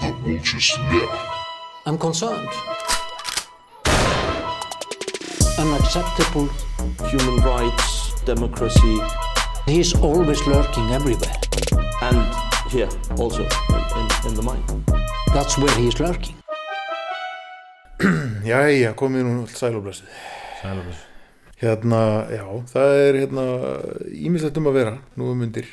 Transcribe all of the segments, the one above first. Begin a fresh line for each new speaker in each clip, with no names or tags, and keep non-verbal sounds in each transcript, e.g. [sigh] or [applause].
The vultures left.
I'm concerned. Unacceptable.
human rights, democracy,
He's always lurking everywhere.
and here also in, in, in the mind.
That's where he is lurking.
Jæja, komið nú öll sæl og blessið.
Sælubus.
Hérna, já, það er hérna ímislegt um að vera, nú um undir.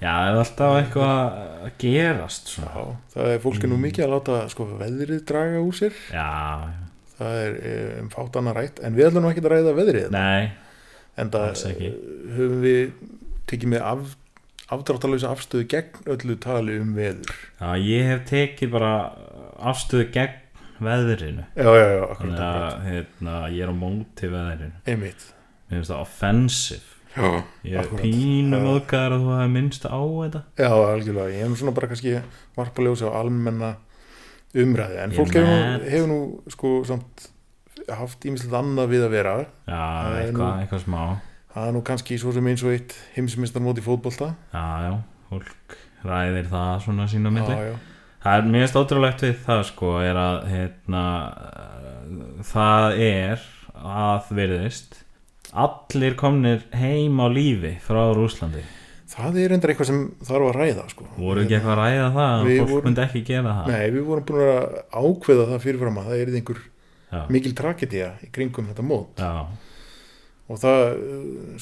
Já, það er alltaf eitthvað að gerast svona.
Já, það er fólki
Mm.
nú mikið að láta sko veðrið draga úr sér.
Já, já.
Það er eh, um fátt annað rætt, en við ætlum nú ekki að ræða veðrið.
nei,
en það
alls ekki.
höfum við tekið með af, afdráttalösa afstöðu gegn öllu tali um veður.
Já, ég hef tekið bara afstöðu gegn veðrinu.
Já, já, já, akkurat.
Þannig
akkurat.
að hérna, ég er á móti veðrinu.
Einmitt.
Mér finnst það offensive.
Já,
Ég er
Akkúrat.
pínu móðgæðar að þú hefði minnst á þetta.
já, algjörlega. Ég hef nú svona bara kannski varpaljósi á almenna umræði, en
Ég
fólk hefur
met.
nú, hefur nú sko samt haft ímislegt annað við að vera.
Já,
Það er
eitthvað,
nú-
eitthvað smá.
Það er nú kannski svo sem eins og eitt heimsmyndstarmót í fótbolta.
Já, já, fólk ræðir það svona sína
Já,
milli.
já.
Það er mjög stótrúlegt við það sko er að hérna, eh, það er að virðist allir komnir heim á lífi frá Rúslandi
Það er endur eitthvað sem þarf að ræða, sko.
voru ekki eitthvað að ræða það að
Við
fólk
vorum-
myndi ekki gera það
Nei, við vorum búin að ákveða það fyrirfram að það er einhver
já,
mikil tragedía í kringum þetta mót
já,
og það, uh,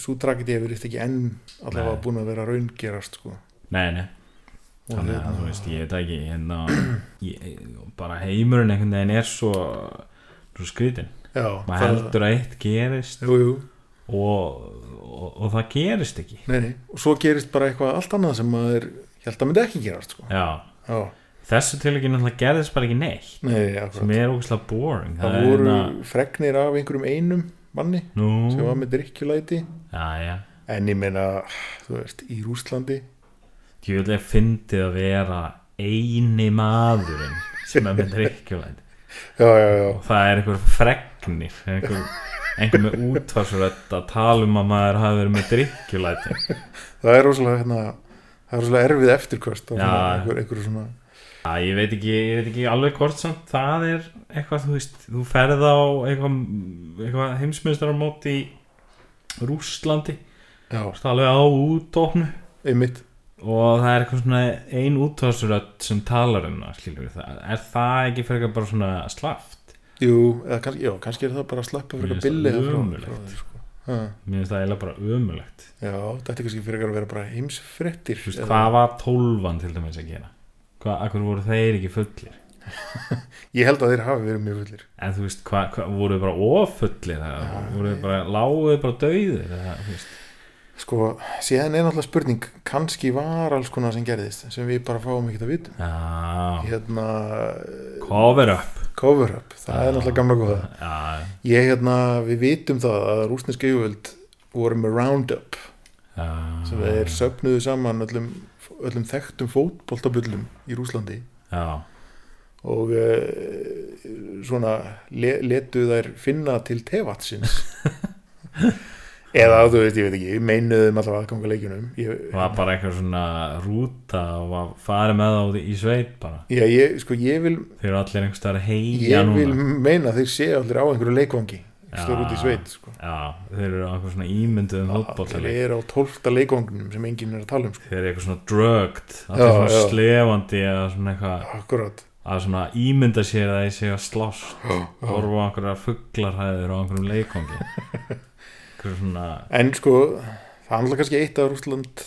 svo tragedía verið ekki enn allavega
Nei.
búin að vera raungerast sko.
nei, nei
Og
þannig
hérna-
að þú veist, ég veit ekki hérna, ég, bara heimurinn einhvern veginn er svo, svo skrýtin
Já,
maður heldur að eitt gerist og,
Jú, jú,
og, og það gerist ekki
nei, nei og svo gerist bara eitthvað allt annað sem maður held að myndi ekki gerast sko.
já,
Já,
þessu tilökinu náttúrulega gerðist bara ekki neitt
nei,
sem
akkurat
er ógæslega boring
Það
er
voru
hérna-
fregnir af einhverjum einum manni
nú,
sem var með drikkjulæti
já, já
en ég meina, þú veist, í Rúslandi
ég vil ég fyndið að vera eini maðurinn sem er með
[laughs]
drikkjulæti
Já, já, já,
og það er einhver fregnir einhver, einhver með útvarsrödd að tala um að maður hafi verið með drikkjulæti
það er rosalega hérna, það er rosalega erfið eftirkvöst á
Já.
svona einhver, einhver svona
já, ég veit ekki, ég veit ekki alveg hvort samt það er eitthvað, þú veist, þú ferð á eitthvað, eitthvað heimsmyndstarmót í Rússlandi,
Já,
það er alveg á útofnu
einmitt
og það er eitthvað svona ein útvarsrödd sem talar um það, skilur við það er það ekki frekar bara svona slaft
Jú, eða kannski, já, kannski er það bara að sleppa fyrir eitthvað
Mér finnst
billi
það
það frá-
ömurlegt.
frá því, sko. Ha,
mér finnst það eiginlega bara ömulegt
Já, þetta er kannski fyrir að vera bara heimsfrettir
Vist, hvað var tólvan til dæmis að gera hvað, akkur voru þeir ekki fullir
Ég held að þeir hafi verið mjög fullir
en þú veist, hvað, hvað voru þeir bara ofullir eða voru þeir bara, lágu þeir bara döðir eða, þú veist,
Sko, síðan er náttúrulega spurning kannski var alls konar sem gerðist sem við bara fáum ekkert að vita
já
Hérna,
cover up
cover-up, það er náttúrulega gamla góða
já,
Ég, hérna, við vitum það að rúsnesk yfirvöld voru með Roundup
já,
sem
Ah.
þeir söpnuðu saman öllum, öllum þekktum fótboltabullum í Rúslandi
já,
og uh, svona le, letu þær finna til tevatsins
[laughs]
eða þú veit, ég veit ekki meinuðum alltaf aðganga leikjunum ég,
var bara eitthvað svona rúta og var farið með þá út í- í sveit bara,
já, ég, sko, ég vil
þeir eru allir einhvers staðar heia
ég vil
núna
meina að þeir séu allir á einhverju leikvangi
Já.
stór út í sveit sko.
Já, þeir eru á eitthvað svona ímynduðum
Ah, þeir
fótbollaleik
eru á tólfta leikvanginum sem enginn er að tala um sko.
Þeir eru eitthvað svona drugged Það
Já,
er svona
já.
slefandi eða svona eitthvað
akkurat
að svona ímynda sér að þeir séu að slást Horfa á einhverjar fugglarhæður á einhverjum
[laughs]
leikongi Einhverjum svona
en sko, það handla kannski eitt að Rúsland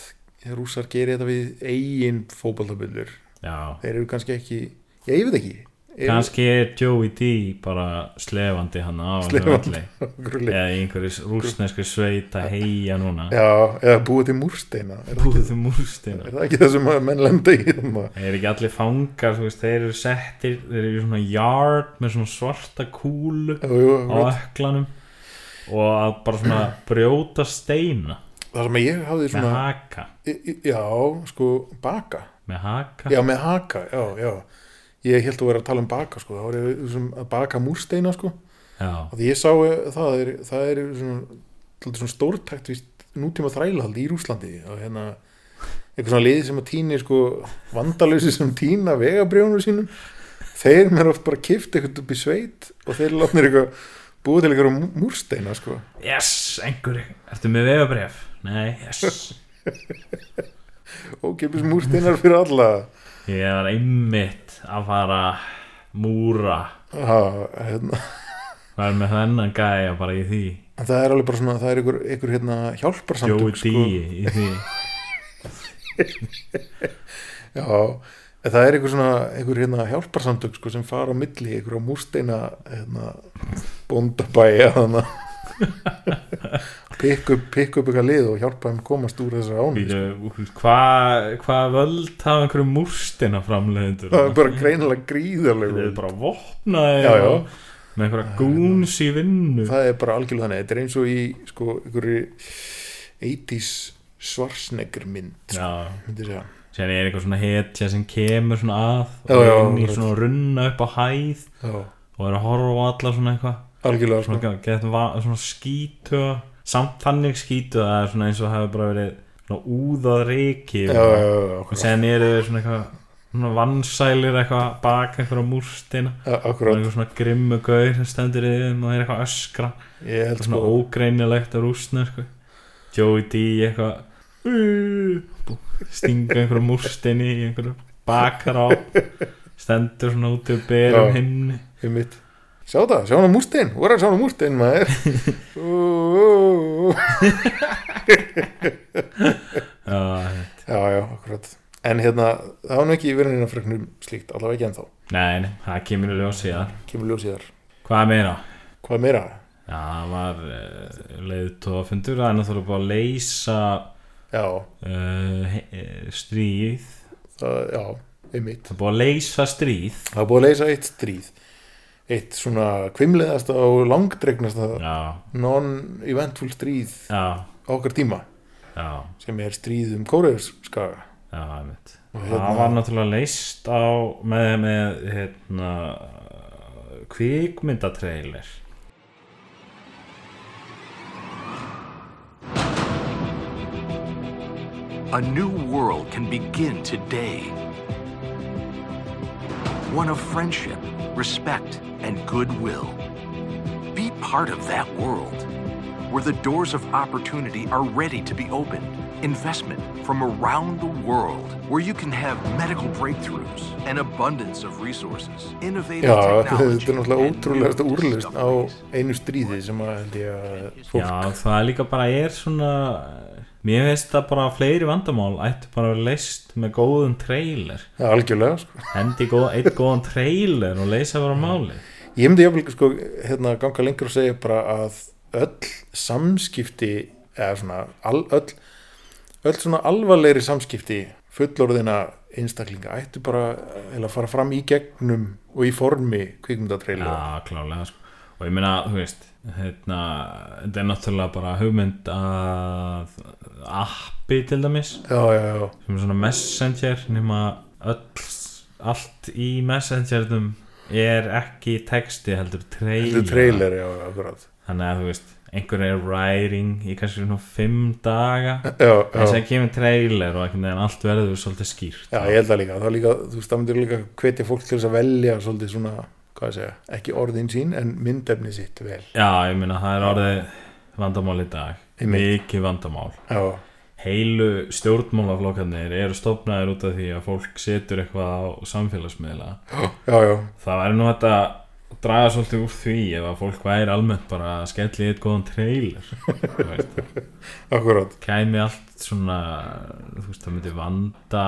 rússar gerir þetta við eigin fótboltabullur
Já,
þeir eru kannski ekki, já, ég veit ekki Eru-
kannski er Joey D bara slefandi hann á einhverjum
Slefandi. á
velli
einhverju leik-
Eða í einhverjum rúsneskri sveit að heia núna
Já, eða búið til múrsteina er, það
Búið
ekki-
til
er
múrstina
það ekki það sem að menn lenda í þarna?
Þeir eru ekki allir fangar, þú veist, þeir eru settir Þeir eru í svona yard með svona svarta kúlu
Jú, jú,
á
akkurat.
öklanum og að bara svona brjóta steina
Það sem að ég hafði
með
svona
haka
í- í- Já, sko, baka
með haka
Já, með haka, já, já Ég held að vera að tala um baka, sko Það var ég sem að baka múrsteina, sko
Já,
Af Því ég sá eh, það, það er, það er svona, svolítið svona stórtækt víst, nútíma þrælahald í Rúslandi og hérna eitthvað svona liði sem að týni sko vandalösi sem týna vegabrjónu sínum þeir mér oft bara kift eitthvað upp í sveit og þeir látnir eitthvað búið til eitthvað múr- múrsteina sko
Yes, einhver Ertu með vegabref? Nei, yes
ókipis múrsteinar fyrir alla
Ég var einmitt að fara Múra
ha, hérna.
Var með þennan gæja bara í því
En það er alveg bara svona það er einhver, einhver hérna
Jói
hjálparsamtök sko.
Díi í því
Já, en það er einhver svona einhver hérna hjálparsamtök sko, sem fara á milli einhver á múrsteina hérna, bóndabæja þannig pikk upp, pikk upp eitthvað lið og hjálpa þeim komast úr sko. þessar ánum
Býtu, Hvað hva völd hafa einhverju múrstina framleiðendur
það er bara greinilega gríðarlegu
Þeir eru bara vopnaði
Já, já.
og með einhverja gúns í vinnu
það er bara algjörlega þannig, þetta er eins og í sko, einhverju 80s svarsneggur mynd
Já,
myndi segja,
sér er eitthvað svona hetja sem kemur svona að
Já,
og
já,
inn í
akkurat.
svona runna upp á hæð
já,
og er að horfa á alla svona eitthvað
algjörlega
svona,
sko.
ga- gett va- svona skítu samt þannig skítu að það er svona eins og hafi bara verið svona úðað reiki
já, já, já, já,
og
akkurat.
sen eru þeir svona eitthvað svona vansælir eitthvað bak einhverja múrstina
Já,
og
akkurat,
einhver svona grimmu gaur sem stendur í þeim og er eitthvað að öskra
ég held
svona
sko
ógreinilegt að rústna sko. Joey D eitthvað "Bú", stinga einhverju múrstinni í einhverju bakar á stendur svona út og berum
Já.
hinn
um mitt sjá það, sjá hann á múrstein, voru að sjá hann á múrstein
[laughs]
maður Ú, ú, ú.
nei,
já, já, akkurat en hérna, það var nú ekki verið neina freknum um slíkt, allavega ekki ennþá
nei, það kemur í ljós síðar
kemur ljósiðar,
hvað meira?
hvað meira?
Já, það var uh, leiðtófundur það er náttúrulega búið að leysa
já,
uh, he- eh, stríð
það, já, um mitt
það er búið að leysa stríð
það er búið að leysa eitt stríð eitt svona kvimleðasta og langdregnasta
já,
non-eventful stríð
já,
á okkar tíma
já,
sem er stríð um Kóreurskaga
já, einmitt
og hérna-
Það var náttúrulega leist á með, með hérna, kvikmyndatrailer
A new world can begin today. One of friendship, respect, and goodwill. Be part of that world where the doors of opportunity are ready to be opened. Investment from around the world where you can have medical breakthroughs, an abundance of resources, innovative
Já, [laughs] þetta er
technology.
náttúrulega
and new
ótrúlegasta úrlust á
discoveries.
einu stríði sem að held ég að fólk
Já, það líka bara er svona Mér finnst það bara að fleiri vandamál ættu bara að vera leist með góðum trailer
Já, algjörlega, sko.
Hendi góð, eitt góðan trailer og leysa bara máli
Ég myndi jafnvel, sko, hérna, ganga lengur og segja bara að öll samskipti, eða svona, all, öll, öll svona alvarlegri samskipti fullorðina einstaklinga ættu bara eða fara fram í gegnum og í formi kvikmyndatreila.
Já, klálega sko. Og ég meina, þú veist hérna, Þetta er náttúrulega bara hugmynd að appi til dæmis
Já, já, já,
sem er svona messenger nema öll, allt í messengernum er ekki texti heldur
þetta er
trailer
trailer, já, já, akkurat.
þannig að þú veist, einhver er writing í kannski svona fimm daga
Já,
en
já,
sem kemur trailer og einhvern veginn allt verður svolítið skýrt
já, ég held það líka. Það er líka, þú veist, það myndir líka hvetja fólk til þess að velja svolítið svona, hvað að segja, ekki orðin sín en myndefni sitt vel.
já, ég meina það er orðið vandamál í dag
Einmitt.
mikið vandamál
Já,
heilu stjórnmálaflokkarnir eru stopnaðir út af því að fólk setur eitthvað á samfélagsmiðla
já, já,
Það væri nú þetta að draga svolítið úr því ef að fólk væri almennt bara að skelli eitt góðan trailer Þú veist,
akkurat.
kæmi allt svona þú veist, það myndi vanda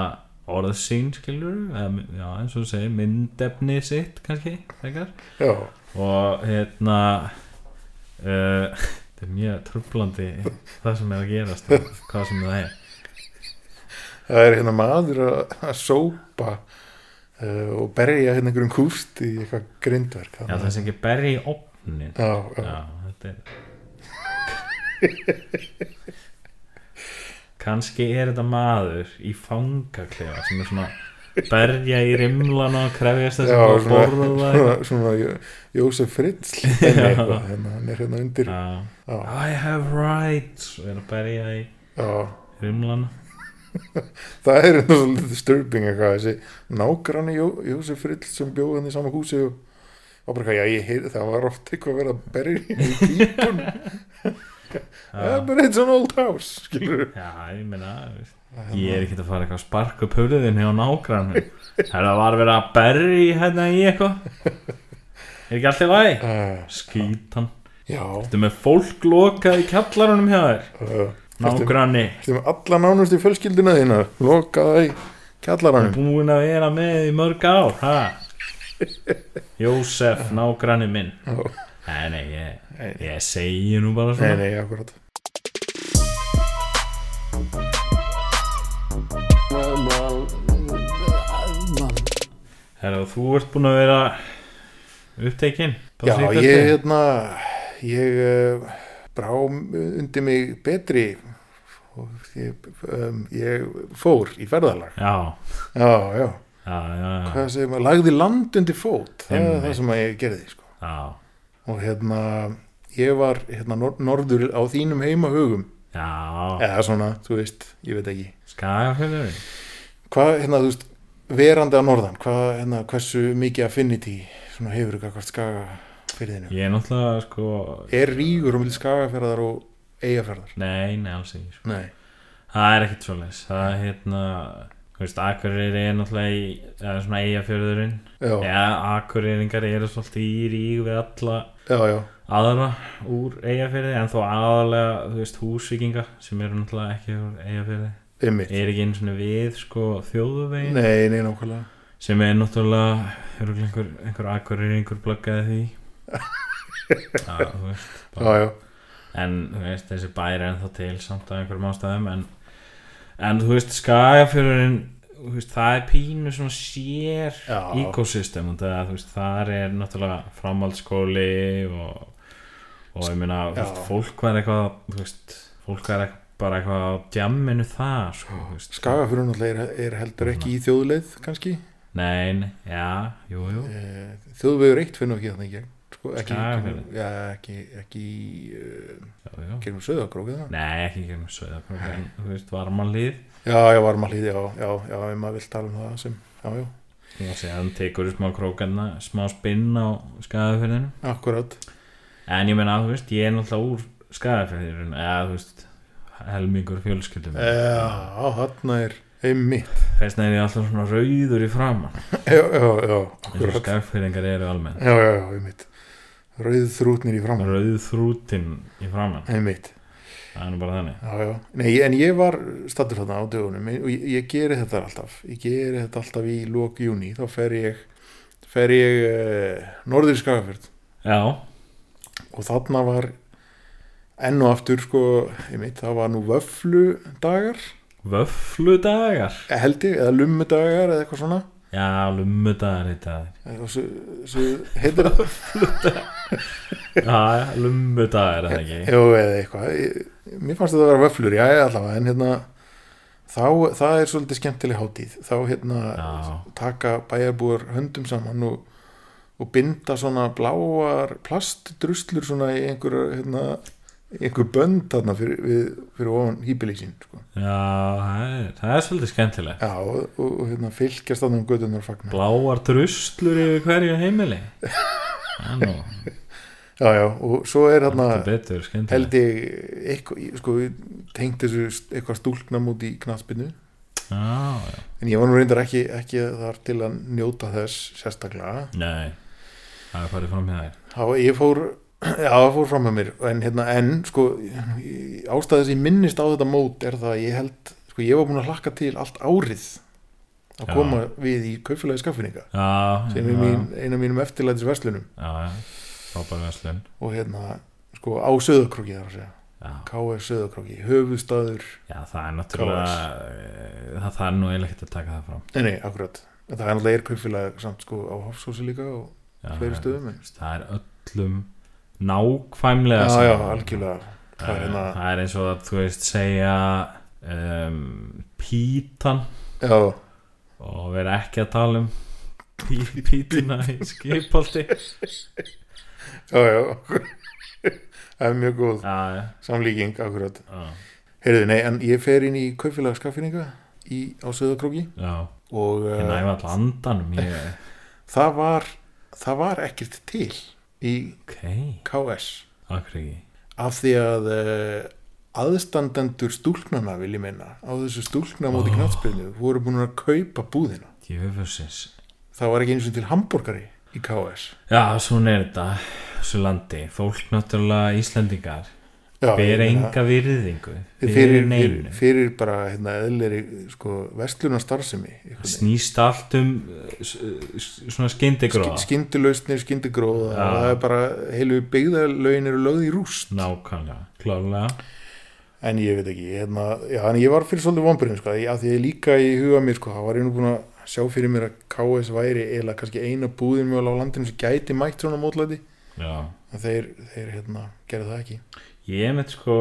orðsýn skilur eða, já, eins og þú segir, myndefni sitt kannski, þegar
Já,
og hérna uh, þetta er mjög tröflandi það sem er að gerast og hvað sem það er
það er hérna maður að, að sópa uh, og berja hérna einhverjum kúst í eitthvað grindverk.
já, það sem ekki berri í opnin
Já, já,
Já, þetta
[laughs]
er Kanski er þetta maður í fangaklefa sem er svona berja í rimlan og krefjast þess
já,
að fá
svona,
að borða
svona, svona Jó- Jósef [laughs] Fritzl, dæmi
Já.
eitthvað, hérna, hann er hérna undir.
Já.
[laughs] Já.
I have rights og er að berja í
Já,
rimlan
það er þetta svolítið disturbing eitthvað þessi nágranni Jó, Jósef Frill sem bjóði hann í sama húsi og var bara eitthvað, já ég heyri það var oft eitthvað að vera að berja í pípun [laughs] það er bara it's an old house skilur
Já, ég meina veist,
Hérna.
Ég er ekkert að fara eitthvað að sparka upp höfuðinni á nágrann Það var verið að berri hérna í eitthvað Er ekki allt í lagi?
uh,
Skítan
já
Þetta með fólk lokað í kjallarunum hjá þér
uh,
Nágranni
þeim alla nánust í fjölskyldina þína lokaða í kjallaranum
Búin að vera með í mörg ár
[laughs]
ha? Jósef, nágranni minn Nei, nei, ég, ég segi nú bara
nei
svona
nei akkurat
Well, well, uh, uh,
Herra, og þú ert búin að vera upptekinn
já ég hérna ég uh, brá undir mig betri og ég, um, ég fór í ferðalag
Já,
já, já,
já, já, já,
hvað segir maður, lagði land undir fót, það er
Einmitt.
það sem að ég gerði sko.
já.
og hérna ég var hérna nor norður á þínum heimahugum
Já,
eða svona, þú veist, ég veit ekki
skagafjörður
hvað, hérna, þú veist, verandi að norðan hvað, hérna, hversu mikið affinity svona hefur ykkur hvert skaga fyrðinu,
Ég er náttúrulega sko
er rígur um til skagaferðar og eigafærðar
Nei, nei, alls ekki sko.
nei,
Það er ekkit svoleiðis Það er hérna Þú veist, Akureyri er náttúrulega í Það er svona eigafjörðurinn
já, já,
Já, Akureyringar eru svolítið í ríg við alla
já,
aðra úr eigafjörði En þó aðalega, þú veist, húsvíkinga sem eru náttúrulega ekki úr eigafjörði
ymmit
Er ekki einu svona við sko þjóðuvegin
nei, nei, nákvæmlega
sem er náttúrulega eru einhver, einhver Akureyringur blöggaði því Já, þú veist
já, já,
en þú veist þessi bæri er ennþá til samt að einhverjum ástæðum en, en þú veist skagafjörðurinn þú veist, það er pínu svona sér
Já.
ekosystem og það, þú veist, þar er náttúrulega framhaldsskóli og, og ég meina þú veist,
Já.
fólk var eitthvað þú veist, fólk var eitthvað bara eitthvað á djamminu það sko, þú veist.
skagafjörður náttúrulega er, er heldur ekki í þjóðleið kannski,
nei, nei, já, jú, jú
Eh, þjóðvegur eitt finnum ekki þannig gegn sko, ekki,
Skagafjörður?
já, ekki, ekki uh,
já, já.
gerum söðakrókið það
nei, ekki ekki með söða en, þú veist, varmanlið
já, já, varum að hlýði, já, já, já, ef maður vill tala um það sem, já, já,
og séðan tekur þú smá krókanna smá spinn á skagafjörðinu
akkurat
En ég meina, þú veist, ég er náttúrulega úr skæðafjörðurinn, eða þú veist helmingur fjölskyldum
Já, þarna er
[laughs]
einmitt
þess vegna er ég alltaf svona rauður í framann
Já, já, já,
eins og
akkurat
skæðafjörðingar eru almennt
Já, já, já, einmitt Rauð þrútnir í fram
rauð þrútin í framann
Einmitt,
það er nú bara þannig
já, já Nei, en ég var stattur þarna á dögunum og ég, ég geri þetta alltaf Ég geri þetta alltaf í lok júni Þá fer ég, fer ég eh, norður í Skagafjörð
Já,
og þarna var enn og aftur sko, einmitt, það var nú vöfludagar
vöfludagar
held ég, eða lummudagar eða eitthvað svona
Já, lummudagar heita
Eh, og svo, svo
[laughs]
heitir það
það Já, lummudagar er það ekki
Jó, eða eitthvað. Ég- Mér fannst þetta að vera vöflur, já, allavega, en hérna, þá, það er svolítið skemmtileg hátíð. Þá, hérna,
Já.
taka bæjarbúar höndum saman og, og binda svona bláar plastdruslur svona í einhver, hérna, í einhver bönd þarna fyrir, við, fyrir ofan hýpilísin, sko.
Já, það er, það er svolítið skemmtilegt
Já, og, og, og hérna, fylgjast þarna um gödunar og fagna.
Bláar druslur yfir hverju heimili Já,
[laughs]
nú,
Já, já, og svo er hérna...
þetta betur skemmtilegt
held ég, eitthvað, ég- sko, tengt þessu st- eitthvað stúlknam út í knaspinu
Já, já,
En ég var nú reyndar ekki, ekki þar til að njóta þess sérstaklega.
nei Það er farið fram hjá þér
Þá ég fór, já, það fór fram með mér. En hérna, en, sko, í- ástæðið sem ég minnist á þetta mót er það að ég held, sko, ég var búin að hlakka til allt árið að
Já.
koma við í kaupfélagi skaffinninga
Já,
sem
já,
er mín, eina af mínum eftirlætisverslunum
Já, já, frábær verslun
og hérna, sko, á Söðakróki þar að segja.
já.
KF Söðakróki, höfuðstaður,
já, það er náttúrulega eh, það, það er nú eiginlega ekkert að taka það fram
nei, nei, akkurat. En það er náttúrulega er kaupfélagi samt, sko, á Hofsósi líka og
já,
fleiri
það-
stöðum. en-
Það er öllum nákvæmlega
Já,
sama.
já, algjörlega. Það er
Eh,
hérna,
Það er eins og að þú veist segja um, pítan
já,
og vera ekki að tala um pí, pítina
[laughs]
í skipolti
já, [laughs] já, akkur- það er mjög góð
Já, já,
samlíking, akkurat
já
heyrðu, nei, en ég fer inn í kaupfélaga skaffinninga í, á Söðakróki
já,
og
ég
uh,
næfa alltaf andanum ég,
það var það var ekkert til í
ok,
KS
akkur ekki
af því að uh, aðstandendur stúlknana vil ég minna á þessu stúlkna móti
Ah.
oh. knátspilinu voru búin að kaupa búðina
djöfusins
það var ekki eins og til hambúrgari í KS
já, svona er þetta þessu landi, fólk náttúrulega Íslendingar
Já, ég
ber
meina,
enga virðingu
fyrir,
fyrir
fyrir, fyrir,
neinu
bara hérna, eðleri sko, vestluna starfsemi
snýst allt um uh, s- s- svona skyndegróða
skyndilöstnir, skyndegróða
Já.
það er bara heilu byggðalögin eru lögð í rúst
nákvæmlega, klálega
en ég veit ekki, hérna, já, en ég var fyrir svolítið vonbyrjum sko, af því að ég líka í huga mér sko, þá var ég nú búin að sjá fyrir mér að KS væri eða kannski eina búðin mjög á landinu sem gæti mætt svona mótlæti
já
en þeir, þeir hérna, gerðu það ekki
Ég með sko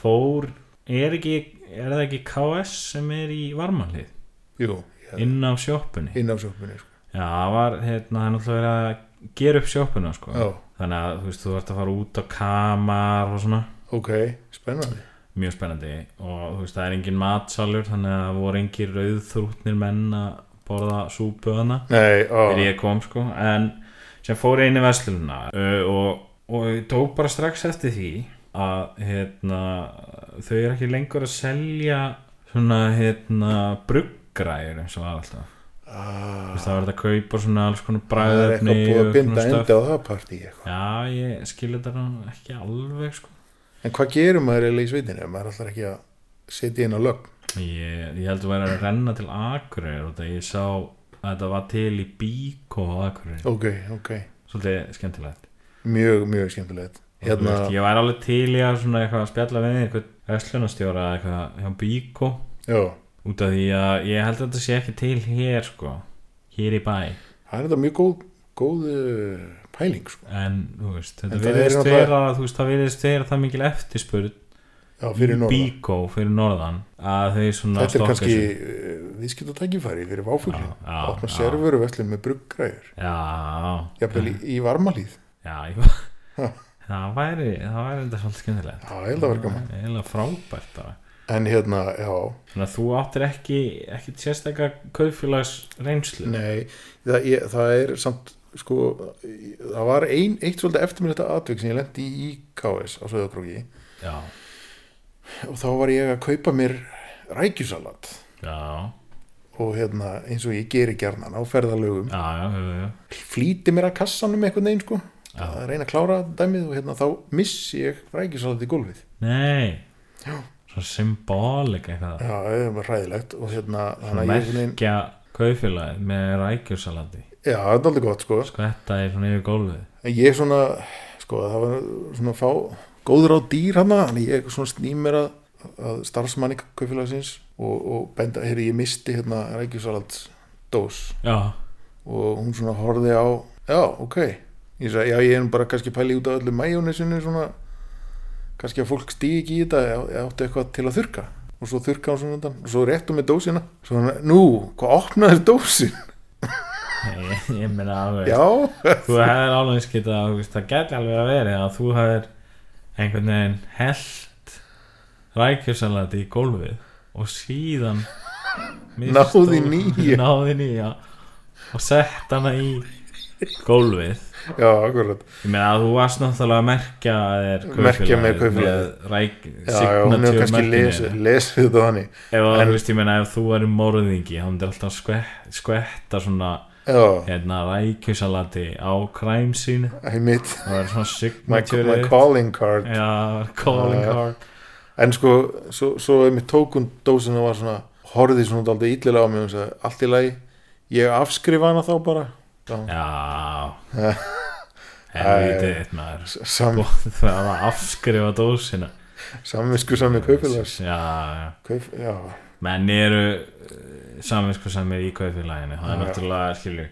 fór, er ekki er það ekki KS sem er í varmanlið
Jú, hérna,
inn á sjoppunni
inn á sjópunni sko.
Já, það var, hérna, það er náttúrulega verið að gera upp sjoppuna, sko
Já.
Þannig að, þú veist, þú ert að fara út á kamar og svona,
ok, spennandi
mjög spennandi og, þú veist, það er engin matsalur þannig að það voru engin rauðþrútnir menn að borða súpu hana
Nei, á,
þegar ég kom sko en sem fór einu verslununa uh, og, og ég tók bara strax eftir því að hérna, þau eru ekki lengur að selja svona hérna bruggræður eins og var alltaf
á,
Þú veist, það var þetta að kaupa svona alls konar
það Ah, er
bræðefni
eitthvað búið að
og
binda
svona
enda á það partí eitthvað.
já ég skilur þetta nú ekki alveg sko
en hvað gerum maður eiginlega í sveitinu ef maður ætlar ekki að setja inn á lögn
ég, ég heldur að vera að renna til Akureyri og þetta ég sá að þetta var til í Bíko á Akureyri
ok, ok,
svolítið skemmtilegt
mjög, mjög skemmtilegt
hérna,
hérna,
veist, ég væri alveg til í að svona eitthvað að spjalla við eitthvað verslunastjóra eða eitthvað hjá Bíko
já
út af því að ég held að þetta sé ekki til hér sko, hér í bæ
það er þetta mjög góð, góð uh, pæling sko.
en þú veist,
En
þetta
það er
virðist
náttúrulega-
vera þú veist, það virðist vera það mikil eftirspurð
já, fyrir norðan
Bíko fyrir norðan að þau svona
þetta er
stokka
kannski
sig.
uh, viðskipt og tækifæri fyrir váfuglin
Já, já,
opna
já.
serveru veslin með bruggræður
já,
jafnvel í, í varmalíð
já ég, [laughs] það væri það væri þetta svolítið skemmtilegt
Já, ég held að vera gaman.
eiginlega frábært bara
en hérna, já,
þannig að þú áttir ekki, ekki sérstakka kaupfélags reynslu
nei það, ég, það er samt sko, það var ein, eitt svolítið eftirminnetta atvik sem ég lendi í KS á Söðakróki
já,
og þá var ég að kaupa mér rækjusalat
já
og hérna, eins og ég geri gernan á ferðalögum
Já, já, já, já.
flýti mér að kassanum einhvern veginn sko
Já.
að reyna að klára dæmið og hérna þá missi ég rækjusalat í gólfið
Nei Svo symbolik eitthvað
Já, það var ræðilegt og hérna,
Svona
þannig að ég einhvern veginn,
Merkja kaufélagið með rækjursalandi
já, það er aldrei gott sko
Skvetta í svona yfir gólfið
en ég svona, sko, það var svona fá góður á dýr hana þannig ég svona sným mér að, að starfsmanni kaupfélagsins og, og benda, heyrðu, ég misti hérna rækjusalat dós
Já,
og hún svona horfði á, já, ok ég sagði, já, ég er nú bara kannski pæli út af öllu majónesinu svona kannski að fólk stígi ekki í þetta eða áttu eitthvað til að þurka og svo þurka hún svona undan og svo réttum með dósina svo hann, nú, hvað opnaði dósin?
ég, ég meina alveg
Já, [laughs]
Þú hefðir alveg skita að þú veist, það gæti alveg að veri að þú hefðir einhvern veginn held rækjursalandi í gólfið og síðan misst
Náð í
úr-
nýju.
náð í nýja og sett hana í gólfið
já, akkurat
Ég meina að þú varst náttúrulega að merkja þér
Merkja með
kaupfélagið
kaupfélagið.
með ræk,
Já, já, hún hefur kannski lesið
signature-merkinu
lesi þetta þannig
Ef að,
en-
þú veist, ég meina ef þú væri morðingi þá myndir alltaf skvett, skvetta svona
Já,
hérna rækjusalati á crime scene
ég mitt
það væri svona
my,
signature
my calling card
Já, calling
Já, já.
card
En sko, svo, svo einmitt tók hún dósina og var svona, horfði svona aldrei illilega á mig og sagði, allt í lagi ég afskrifa hana þá bara Já,
Já
[laughs] Já.
Helvítið eitt maður
sam,
Það var að afskrifa dósina
samvisku sami kaupfélags
Já, já
Kaup, Já,
menn eru saminsku samir í kaupfélaginu það er
Já.
náttúrulega skilur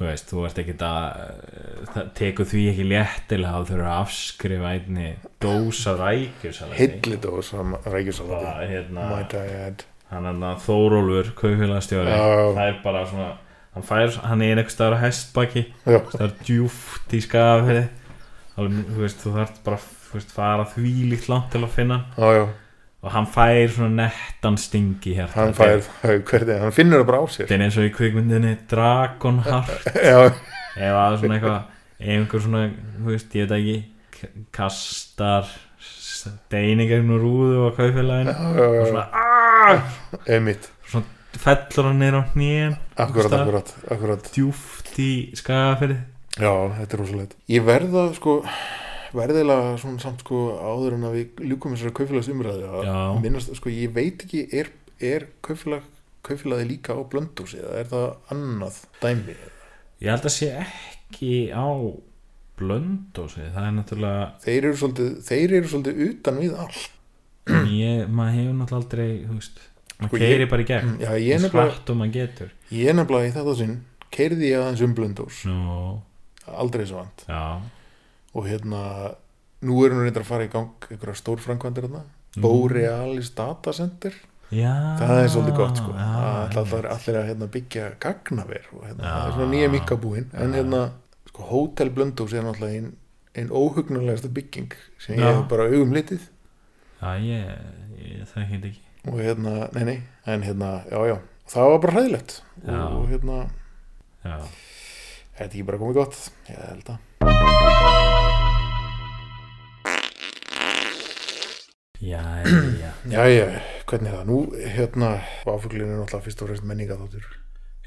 þú veist, þú ert ekki að eh, það tekur því ekki léttilega þá þurfur að afskrifa einni dósa rækjur
hilli dós rækjusalati, my
hérna,
dad
hann er það Þórólfur kaupfélagstjóri,
Já.
það er bara svona hann, fær, hann er einhvers staðar á hestbaki
Já,
það er djúft í skafið þú veist, þú þarft bara þú veist, fara þvílíkt langt til að finna hann
já, já,
og hann fær svona nettan sting í hjarta
hann fær, hvernig, hann finnur það bara á sér
þetta er eins og í kvikmyndinni Dragon Heart
[laughs] já,
eða svona eitthvað einhver svona, þú veist, ég veit ekki k- kastar steini gegn úr rúðu og kaufélagin og svona, ah! aaaah
Ah! einmitt
svona fellur hann niður á hnýjan
akkurat, akkurat, akkurat
djúft í skagaferði
já, þetta er rosalegt ég verða sko verðilega svona samt sko áður en að við ljúkum þessari kaufélags umræði
Já.
að minnast, sko ég veit ekki er, er kaufélag kaufélagi líka á blöndús eða er það annað dæmi
ég held að sé ekki á blöndósi, það er náttúrulega
þeir eru svolítið, þeir eru svolítið utan við allt
ég, maður hefur náttúrulega aldrei þú veist,
Sko,
maður
ég-
keiri bara í gegn
já, ég
eins
nefnilega-
hratt og maður getur
ég nefnilega í þetta sinn keirði ég aðeins um blöndús
Nú,
aldrei svo vant
já,
og hérna nú erum við reyndar að fara í gang einhverja stór framkvæmdir þarna
Mm.
Borealis Data Center
já
það er svolítið gott sko
Ah, já,
að það er allir að hérna, byggja gagnaver og hérna, það er svona nýja mikkabúin en hérna sko Hotel Blöndós er náttúrulega ein, ein óhugnulegasta bygging sem ég
Já.
hef bara augum litið
Já, ég, ég þekki þetta ekki
og hérna, nei nei, en hérna já já, það var bara hræðilegt
Já.
og hérna,
Já,
þetta er ekki bara komið gott ég held að
já, [clears throat] já
Já, já, hvernig er það? Nú, hérna, áfuglinu er náttúrulega fyrst og fremst menningaþáttur.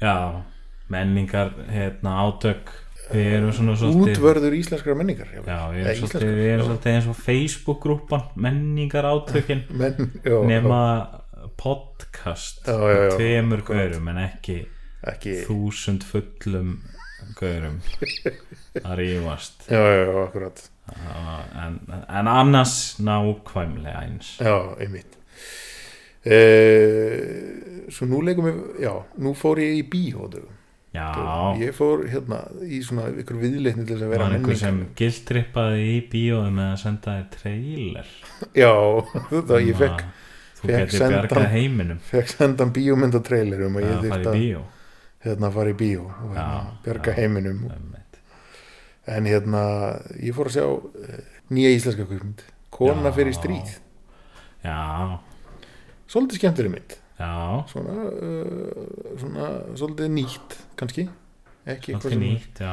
Já, menningar, hérna, átök Við erum svona svolítið
Útvörður íslenskara menningar. Já,
Já,
Eða
við erum svolítið,
íslenskrar,
við erum
já.
svolítið eins og Facebook-grúpan Menningar átökin
Men, já,
Nema podcast
Já, já, já,
með Tveimur gaurum, en ekki
ekki,
Þúsund fullum gaurum Að rífast
já, já, já, akkurat.
en, en annars nákvæmlega eins
Já, einmitt. Uh, svo nú leikum við, já, nú fór ég í bíóðu.
Já,
Ég fór, hérna, í svona ykkur viðleitni til þess að vera
var einhver
menningar.
sem gildrippaði í bíóðu með að senda þér trailer
Já, [laughs] það ég fekk,
þú
fekk
getur
sendan-
bjargað heiminum
fekk sendan bíómyndatrailer um að ég
að
þyrfti
fara í
að,
bíó
hérna, fara í bíó og hérna,
Já,
bjarga
já.
heiminum og
Einmitt.
En hérna, ég fór að sjá uh, nýja íslenska kvikmynd Kona
Já.
fyrir stríð
já,
Svolítið skemmtileg mynd
já
Svona, uh, svona svolítið nýtt kannski Ekki eitthvað,
alltaf
sem,
nýtt, já,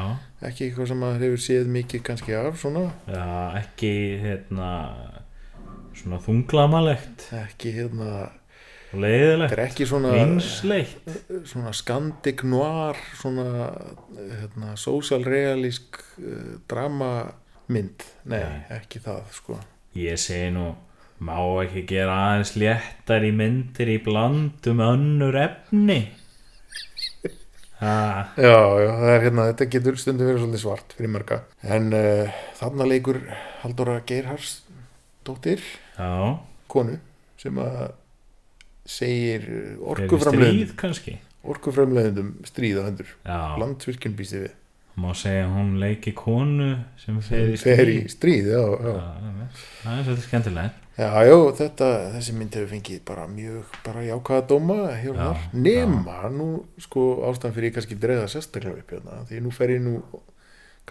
ekki eitthvað sem maður hefur séð mikið kannski af Svona
já ekki hérna svona þunglamalegt
ekki hérna
og
Þetta
leiðilegt
er ekki svona, eh,
einsleitt
svona skandik noir Svona hérna, social realísk uh, drama mynd Nei, ekki það sko
ég segi nú má ekki gera aðeins léttar í myndir í blandum önnur efni ha,
Já, já, það er hérna, þetta getur stundum verið svolítið svart fyrir marga. En uh, þarna leikur Haldóra Geirhars dóttir,
já,
konu, sem að segir eh,
er við
orkuframleiðendum
stríð kannski
orkuframleiðendum stríða hendur.
já,
Landsvirkjum býsti við.
má segja að hún leiki konu sem fer í
Fer í
stríð
stríð, já, já.
Já, einmitt. það er svolítið skemmtilegt
Já, já, þetta, þessi mynd hefur fengið bara mjög, bara jákaða dóma hér og
Já,
þar. Nema, nú sko ástæðan fyrir ég kannski dreða sérstaklega upp hérna, því nú fer ég nú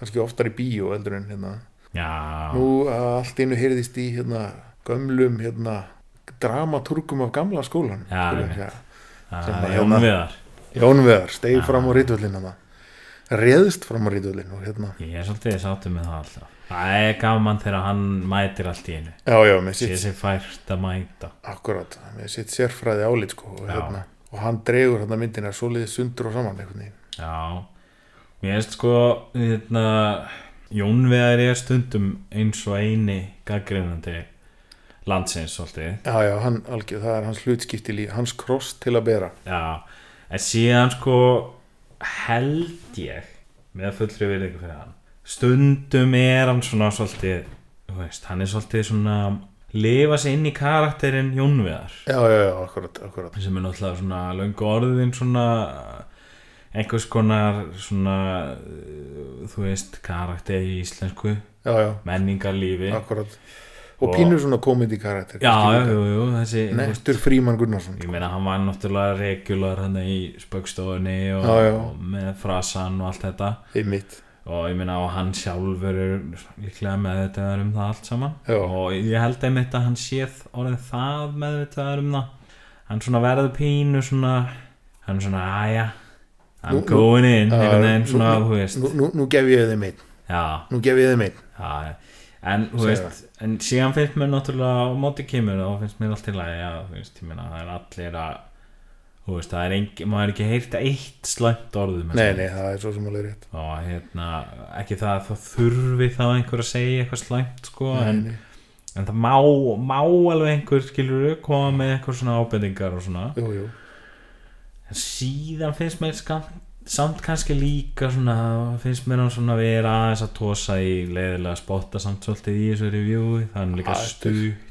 kannski oftar í bíó eldur en hérna.
já,
Nú að allt einu heyrðist í hérna, gömlum hérna, dramaturgum af gamla skólan
Já, einmitt.
sem
það
að
er
hérna-
jónviðar
Jónveðar, steig fram á rítvöllin hana. réðst fram á rítvöllin og hérna,
ég er svolítið sáttum með það alltaf það er gaman þegar hann mætir allt í einu
já já með
sé
sitt,
sér fært að mæta
akkurat með sitt sérfræði álít sko og,
Já.
hérna, og hann dregur hérna myndina svoleiðið sundur og saman einhvern veginn,
já, mér veist sko hérna, jónviðar er stundum eins og eini gaggrinandi landsins svolítið
já já, hann, algjör, það er hans hlutskipti líf, hans kross til að bera
Já, en síðan sko held ég með fullri virðingu fyrir hann stundum er hann svona svolítið, þú veist, hann er svolítið svona lifa sig inn í karakterinn Jónviðar
já já já, akkurat, akkurat
sem er náttúrulega svona löngu orðin svona einhvers konar svona uh, þú veist, karakter í íslensku
já já,
menningarlífi
akkurat og pínur svona komedi karakter
Já, jú, jú, þessi þú veist,
Nestur Fríman Gunnarsson
Ég meina hann var náttúrulega regular hann í spöggstofunni og,
Já, já.
og með frasan og allt þetta
einmitt
og ég meina og hann sjálfur er líklega meðvitaðar um það allt saman
Já.
og ég held einmitt að hann séð orðið það meðvitaðar um það hann svona verður pínu svona hann svona aðja I'm
Nú- nú-
going in einhvern veginn
nú-
svona þú
nú,
veist
nú, nú, nú gef ég þeim einn
já,
nú gef ég þeim einn
já en þú
Segðu
veist en síðan finnst mér náttúrulega á móti kemur og finnst mér allt í lagi að þú veist ég meina það er allir að þú veist það er engin maður er ekki heyrt eitt slæmt um orðum
nei, nei, það er svo sem alveg rétt
og hérna ekki það að það þurfi þá einhver að segja eitthvað slæmt sko en, en það má, má alveg einhver skilur koma með eitthvað svona ábendingar og svona
jú, jú.
en síðan finnst mér skam, samt kannski líka svona finnst mér hann svona vera aðeins að tosa í leiðilega spotta samt svolítið í þessu review þannig líka
Ah, þetta er-
stutt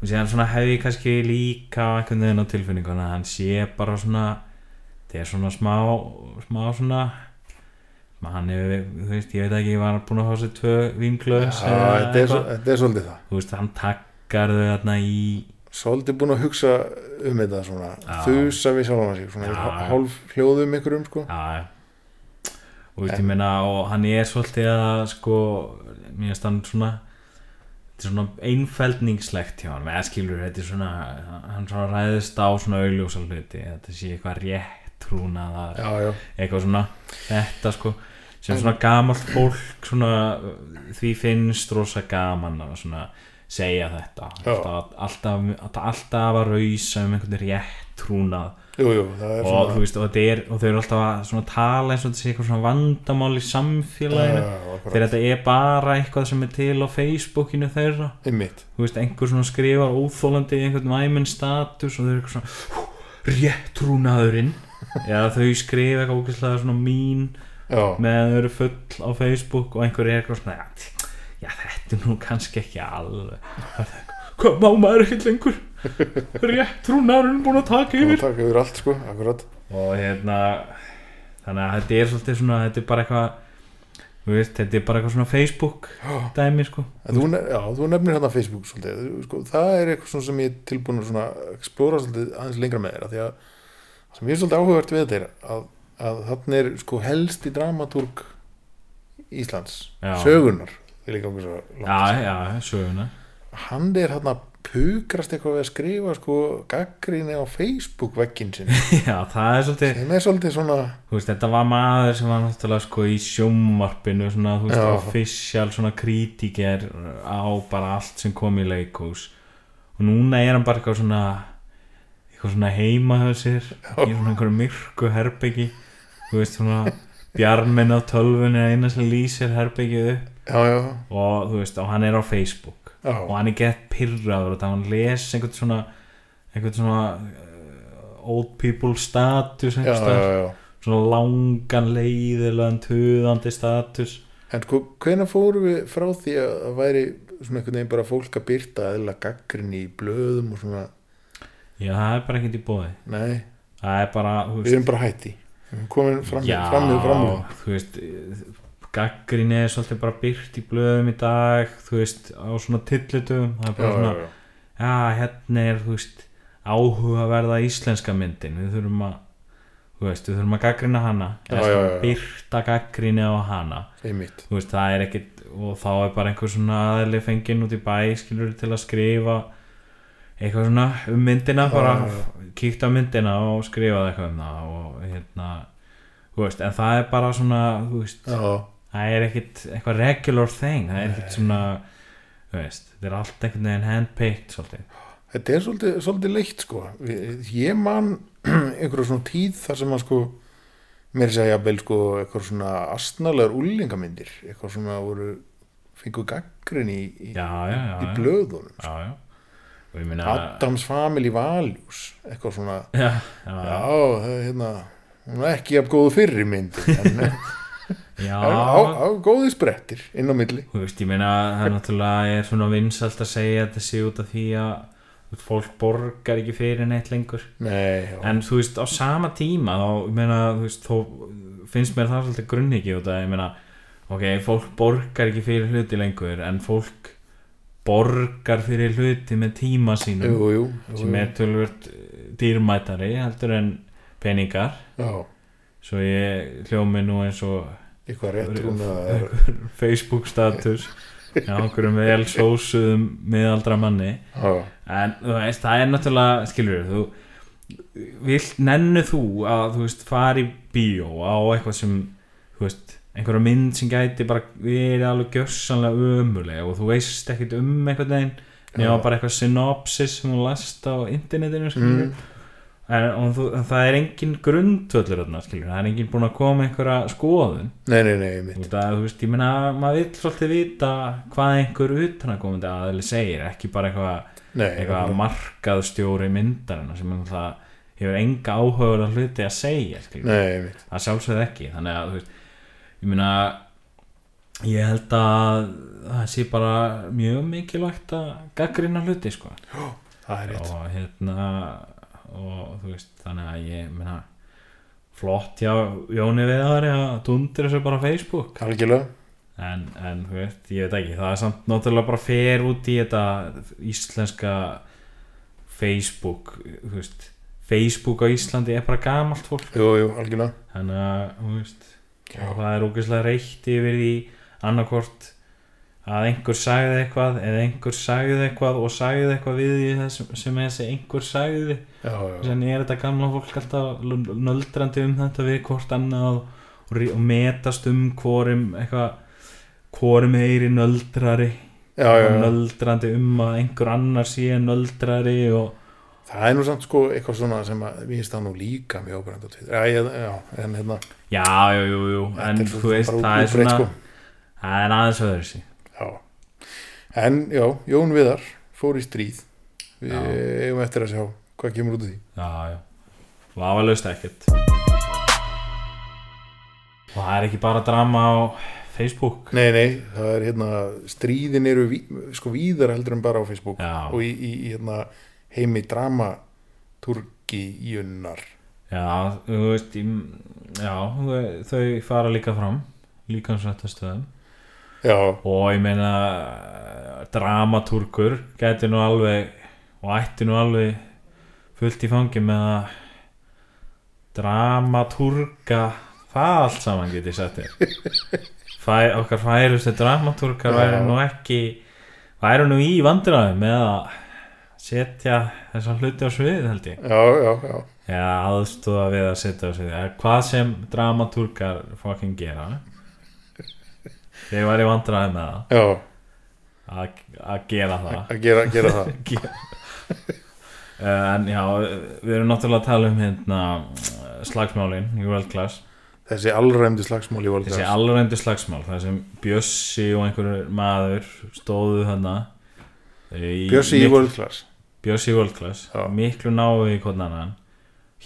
og síðan svona hef ég kannski líka einhvern veginn á tilfinninguna að hann sé bara svona þetta er svona smá smá svona ma- hann hefur, þú veist, ég veit ekki ég var búin að fá sér tvö vinglöðs
Á, þetta, er, svo- þetta er svolítið það
þú veist, hann takkar þau þarna í
svolítið búin að hugsa um þetta svona þusa við sjálfum sig svona
Já.
hálf hljóðum ykkur um sko
Já, já. og veist, ég meina og hann er svolítið að sko, mér finnst hann svona þetta er svona einfeldningslegt hjá hann, eða skilur, þetta er svona hann svona ræðist á svona augljósa hluti þetta sé eitthvað rétt trúnaðar
já, já,
eitthvað svona, þetta sko sem svona gamalt fólk svona, uh, því finnst rosa gaman að svona segja þetta
Já.
alltaf, alltaf, alltaf, alltaf að rausa um einhvern rétt trúnað
jú, jú, það er
og, þú
svona
veist, og, þetta er, og þau eru alltaf að svona tala eins og þetta sé eitthvað svona vandamál í samfélaginu
Já, akkurat.
þegar þetta er bara eitthvað sem er til á Facebookinu þeirra
ymmit
þú veist, einhver svona skrifar óþólandi einhvern væminn status og þau eru eitthvað svona "Hú,
[laughs]
réttrúnaðurinn eða þau skrifa eitthvað ógæslega svona mín
já,
meðan þau eru full á Facebook og einhver er eitthvað svona já, tsk, já þetta er nú kannski ekki alveg hvað má maður ekki lengur
[laughs]
réttrúnaðurinn búin að taka yfir
það taka yfir allt sko, akkurat
og hérna þannig að þetta er svolítið svona þetta er bara eitthvað þú veist, þetta er bara eitthvað svona Facebook dæmi sko
En Þú, nef- já, þú nefnir hérna Facebook svolítið, Þú- sko, það er eitthvað svona sem ég er tilbúin að svona explora svolítið aðeins lengra með þér af því að það sem ég er svolítið áhugavert við þetta er að, að þannig er sko helst í dramatúrg Íslands
Já.
sögunar vil ég ganga svo langt.
já, já, söguna [laughs]
hann er hann að pukrast eitthvað við að skrifa sko gaggrinni á Facebook vegginn
[laughs]
sinni
já, það er svolítið,
sem er svolítið svona
þú veist, þetta var maður sem var náttúrulega sko í sjómvarpinu svona, þú veist,
Já.
official svona krítiker á bara allt sem kom í leikús og núna er hann bara eitthvað svona eitthvað svona heima hjá sér í svona einhverju myrku herbyggi þú veist, svona bjarminn á tölvunni er eina sem lýsir herbyggið upp
já, já,
og þú veist, og hann er á Facebook
Já.
og hann er gett pyrraður og hann les einhvern svona einhvern svona uh, old people status
já, já,
einhvers staðar.
já, já.
svona langan leiðilegan tuðandi status
En sko, hvenær fórum við frá því að það væri svona einhvern veginn bara fólk að byrta eðla gaggrinni í blöðum og svona,
já, það er bara ekkert í bóði
nei,
það er bara, þú
við
veist
erum bara hætti. Við erum komin fram,
já,
fram við framlið.
þú veist gaggrinni er svolítið bara byrt í blöðum í dag, þú veist á svona tillitum, það er bara svona
Já, já,
já, hérna er, þú veist, áhugaverða íslenska myndin, við þurfum að þú veist, við þurfum að gaggrina hana eða
Já, já, já, já.
byrta gaggrinni á hana
einmitt.
þú veist, það er ekkit og þá er bara einhver svona aðli fenginn út í bæ skilur til að skrifa eitthvað svona um myndina bara
já,
kíkt á myndina og skrifaði eitthvað um það og hérna þú veist, en það er bara svona þú veist,
Já,
það er ekkit eitthvað regular thing, það er ekkit svona þú veist, þetta er allt einhvern veginn handpicked svolítið
þetta er svolítið, svolítið leitt sko. Við- Ég man [clears throat] einhverja svona tíð þar sem að sko, mér segja jafnvel sko eitthvað svona astnalegar úlingamyndir, eitthvað svona voru, fengu gaggrinni í, í,
já, já, já,
í sko.
já.
blöðunum.
já, já. og ég meina
Adams Family Values, eitthvað svona...
já, já, já,
Já, það er hérna hún er ekki jafn góðu fyrri mynd
[laughs]
en á, á, á góði sprettir inn á milli
þú veist, ég meina það er náttúrulega er svona vinsalt að segja þetta sé út af því að þú veist, fólk borgar ekki fyrir neitt lengur
Nei, já,
en þú veist, á sama tíma þá, ég meina, þú veist, þó finnst mér það svolítið grunnhyggju út að ég meina ok, fólk borgar ekki fyrir hluti lengur en fólk borgar fyrir hluti með tíma sínum
jú, jú, jú,
sem er tölvöld dýrmætari heldur en peningar
já,
svo ég hljómi nú eins og
eitthvað réttrúm eða
Facebook status Já, okkur um vel sósuðum miðaldra manni
Já.
en þú veist, það er náttúrulega skilur þú vilt, nennu þú að þú veist, fara í bíó á eitthvað sem þú veist, einhverja mynd sem gæti bara verið alveg gjörsanlega ömuleg og þú veist ekkit um einhvern veginn nema bara eitthvað synopsis sem hún last á internetinu skilur en, og þú, en það er engin grundvöllur þarna skilur, það er engin búin að koma einhverja skoðun
nei, nei, nei, mitt
út að þú veist, ég meina maður vill svolítið vita hvað einhver utanakomandi aðeins segir, ekki bara eitthvað
nei,
eitthvað markaðstjóri myndarinn sem er náttúrulega hefur enga áhugaður að hluti að segja skilur.
nei, mitt
það sjálfsögð ekki þannig að þú veist, ég meina ég held að það sé bara mjög mikilvægt að gaggrina hluti sko
það er rétt
og hérna og þú veist þannig að ég meina flott já, Jóni Veðari að tundir þessu bara á Facebook
algjörlega,
en, en þú veist, ég veit ekki það er samt náttúrulega bara fer út í þetta íslenska Facebook þú veist, Facebook á Íslandi er bara gamalt fólk
jú, jú, algjörlega
þannig að þú veist, og það er ógeðslega reykt yfir því annarkvort að einhver sagði eitthvað eða einhver sagði eitthvað og sagði eitthvað við því þessum sem þessi einhver sagði
já, já,
Þannig er þetta gamla fólk alltaf l- nöldrandi um þetta við hvort annað og, og, rí- og metast um hvorum eitthvað hvorum heyri nöldrari
já, já,
og
já.
nöldrandi um að einhver annar sé nöldrari og
það er nú samt sko eitthvað svona sem að við finnst það nú líka mjög ábærandi á Twitter já, ég- já, en hérna
já, jú, jú, jú en
þetta er
þú veist,
bara
það er
útbreitt,
svona
sko.
það er aðeins öðru sí
Já. En já, Jón Viðar fór í stríð. Við eigum eftir að sjá hvað kemur út af því.
já, já, vafalaust ekkert og það er ekki bara drama á Facebook
Nei, nei, það er hérna, stríðin eru ví, sko víðar heldur en bara á Facebook
Já.
og í, í, í hérna, heimi dramaturgíunnar.
Já, þú veist ég- Já, þau- þau fara líka fram líka um þetta stöðum
Já,
og ég meina dramatúrkur gæti nú alveg og ætti nú alveg fullt í fangi með að dramatúrka það allt saman geti sett þér Fæ, okkar færustu dramatúrkar væri nú ekki væri nú í vandræðum með að setja þessa hluti á svið held ég
já, já, já.
eða aðstóða við að setja á sig eða hvað sem dramatúrkar fucking gera þeir væri vandræði með það
Já,
að, að gera það
að gera, gera
[laughs]
það.
Eh, en já, við erum náttúrulega að tala um hérna slagsmálin í World Class
Þessi allræmdi slagsmál í
þessi
Valdars.
alvegndi slagsmál þar sem Bjössi og einhverjur maður stóðu þarna í
Bjössi í
miklu-
Valdars.
Bjössi í World Class
Já.
miklu náðu í konan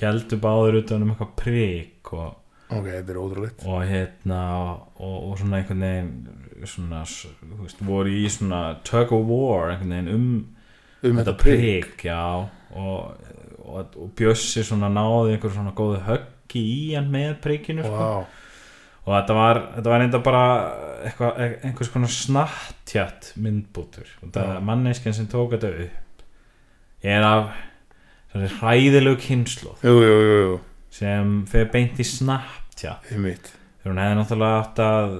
heldur báður utan um eitthvað prik og
Ok, þetta er ótrúleitt.
og hérna og, og svona einhvern veginn svona, s- þú veist, voru í svona tug of war einhvern veginn um
Um
þetta prik, já og, og, og Bjössi svona náði einhver svona góðu höggi í hann með prikinu sko.
Vá,
og þetta var, þetta var enda bara eitthva, einhvers konar snattjatt myndbútur og það er manneskjan sem tók þetta upp er af svona hræðilegu kynslu
jú, jú, jú, jú,
sem fer beint í snattjatt
um mitt.
Þegar hún hefði náttúrulega átt að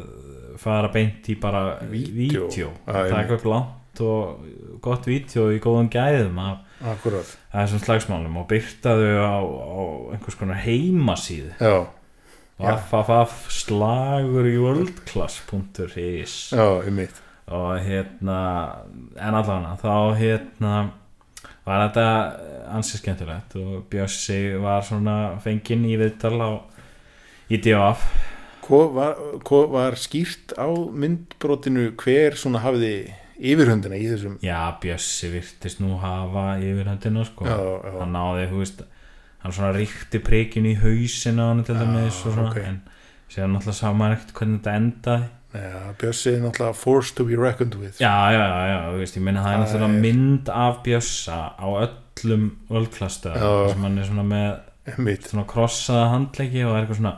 fara beint í bara
Vídeó.
vídeo
Já, einmitt.
taka upp langt og gott vídeo í góðum gæðum af
Akkurat.
af þessum slagsmálum og byrta þau á, á einhvers konar heimasíðu
Já,
www.slagur í worldclass.is
já, um mitt.
og hérna en allavega þá hérna var þetta ansi skemmtilegt og Bjössi var svona fenginn í viðtal á í DF
Hvað var, hvað var skýrt á myndbrotinu hver svona hafiði yfirhundina í þessum
Já, Bjössi virtist nú hafa yfir höndina sko
Já, já.
hann náði, þú veist hann svona ríkti prikinu í hausin á hann til dæmis og svona
ok.
en síðan náttúrulega sá maður ekkert hvernig þetta endaði
ja, Bjössi er náttúrulega forced to be reckoned with
Já, já, já, já, þú veist, ég minna það er náttúrulega mynd af Bjössa á öllum völklasta
Já.
sem hann er svona með
mitt
svona krossaða handleggi og er eitthvað svona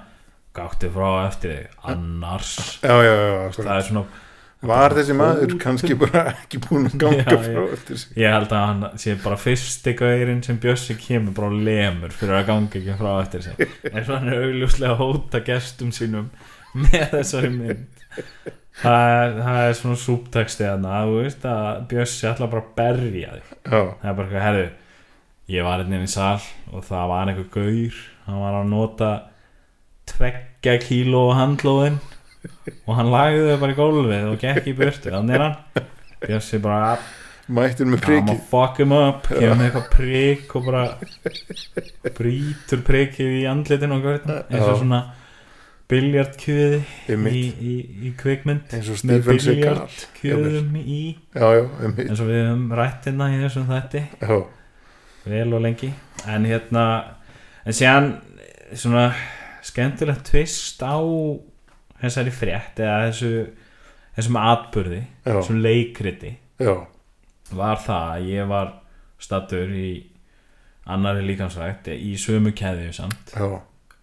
gáttu frá eftir þig, annars
já, já, já, akkurat.
það er svona
var þessi maður
[laughs]
kannski bara ekki búin að ganga
Já,
frá
já.
eftir sig
Ég held að hann sé bara fyrsti gaurinn sem Bjössi kemur bara og lemur fyrir að ganga ekki frá eftir sig en svo hann er augljóslega að hóta gestum sínum með þessari mynd það er, það er svona súpteksti þarna þú veist að Bjössi ætla bara að berja þig
já,
það er bara eitthvað, herðu ég var hérna inn í sal og það var einhver gaur hann var að nota tveggja kíló handlóðin og hann lagði þau bara í gólfið og gekk í burtu, þannig er hann Bjössi bara að
mættur með
I'm
priki
gonna fuck him up kemur með eitthvað prik og bara brítur prikið í andlitinu og görðin eins og
Já.
svona biljartkjöði í,
Einmitt.
í, í kvikmynd
eins og
með
Stephen Seagal
biljartkjöðum í
já, já, um
eins og við höfum rætt hérna í þessum þætti
já,
vel og lengi en hérna en síðan svona skemmtilegt tvist á þessari frétt eða þessu þessum atburði,
Já.
þessum leikriti
já,
var það að ég var stattur í annari líkansvægt í sömu keðju samt
já,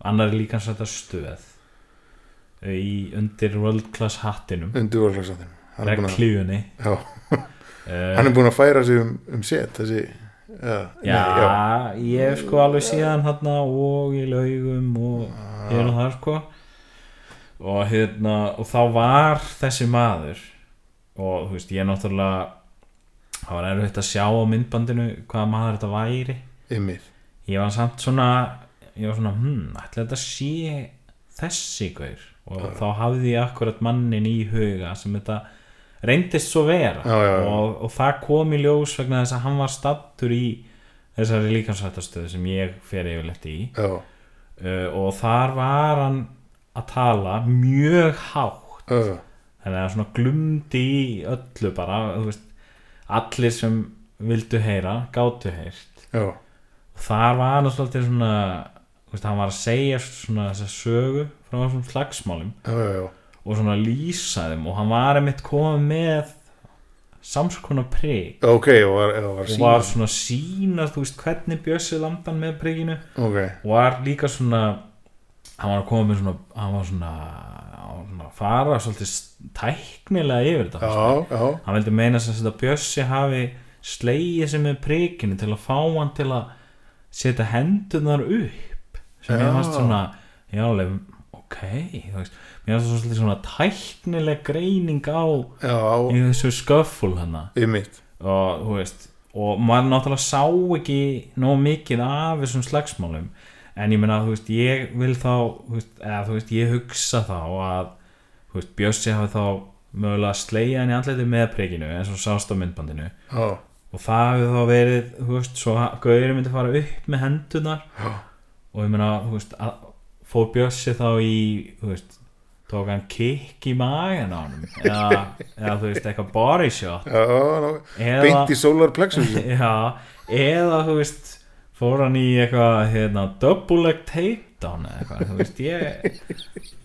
annari líkansvægt að stöð í undir world class hattinum
undir vorlagsatinn hann, er búinn að-
reglífunni
já,
uh,
hann er búin að færa sig um, um set þessi já,
já,
nei, já,
ég hef sko alveg síðan þarna og í laugum og
Ah.
hér og það sko og hérna og þá var þessi maður og þú veist ég náttúrulega það var erfitt að sjá á myndbandinu hvaða maður þetta væri
ymmið
ég var samt svona ég var svona, hmm, ætla þetta sé þessi gaur og þá hafði ég akkurat mannin í huga sem þetta reyndist svo vera
Já, já, já.
Og, og það kom í ljós vegna þess að hann var stattur í þessari líkansvættastöðu sem ég fer yfirleitt í
já,
uh, og þar var hann að tala mjög hátt
já,
þannig að svona glumdi í öllu bara þú veist, allir sem vildu heyra gátu heyrt
já,
þar var hann svolítið svona þú veist, hann var að segja svona þessa sögu frá þessum slagsmálum
já, já, já.
og svona lýsa þeim og hann var einmitt komið með samskona prik
ok, og var, já, var
og
síma
var svona sína þú veist hvernig bjössi landan með prikinu
ok,
og var líka svona hann var að koma með svona hann var svona, hann var svona að fara svolítið tæknilega yfir þetta
já, já,
hann veldi meina sem sagt að Bjössi hafi slegið sem með prikinu til að fá hann til að setja hendunar upp sem
Já.
ég fannst svona já, alveg, ok þú veist, mér fannst það svolítið svona tæknileg greining á
já,
í þessu sköfful hana
ymmið
og þú veist og maður náttúrulega sá ekki nóg mikið af þessum slagsmálum en ég meina þú veist ég vil þá þú veist, eða þú veist ég hugsa þá að þú veist Bjössi hafi þá mögulega slegið hann í andliti með prikinu eins og sást á myndbandinu
já,
og það hafi þá verið þú veist svo ha- gaurið myndi fara upp með hendunar
já,
og ég meina þú veist að, fór Bjössi þá í þú veist tók hann kikk í magan á hann eða, eða þú veist eitthvað body shot
já, já
Eða-
beint í
[laughs]
solarplexus
Já, eða þú veist fór hann í eitthvað hérna, double leg takedown eða eitthvað, þú veist ég,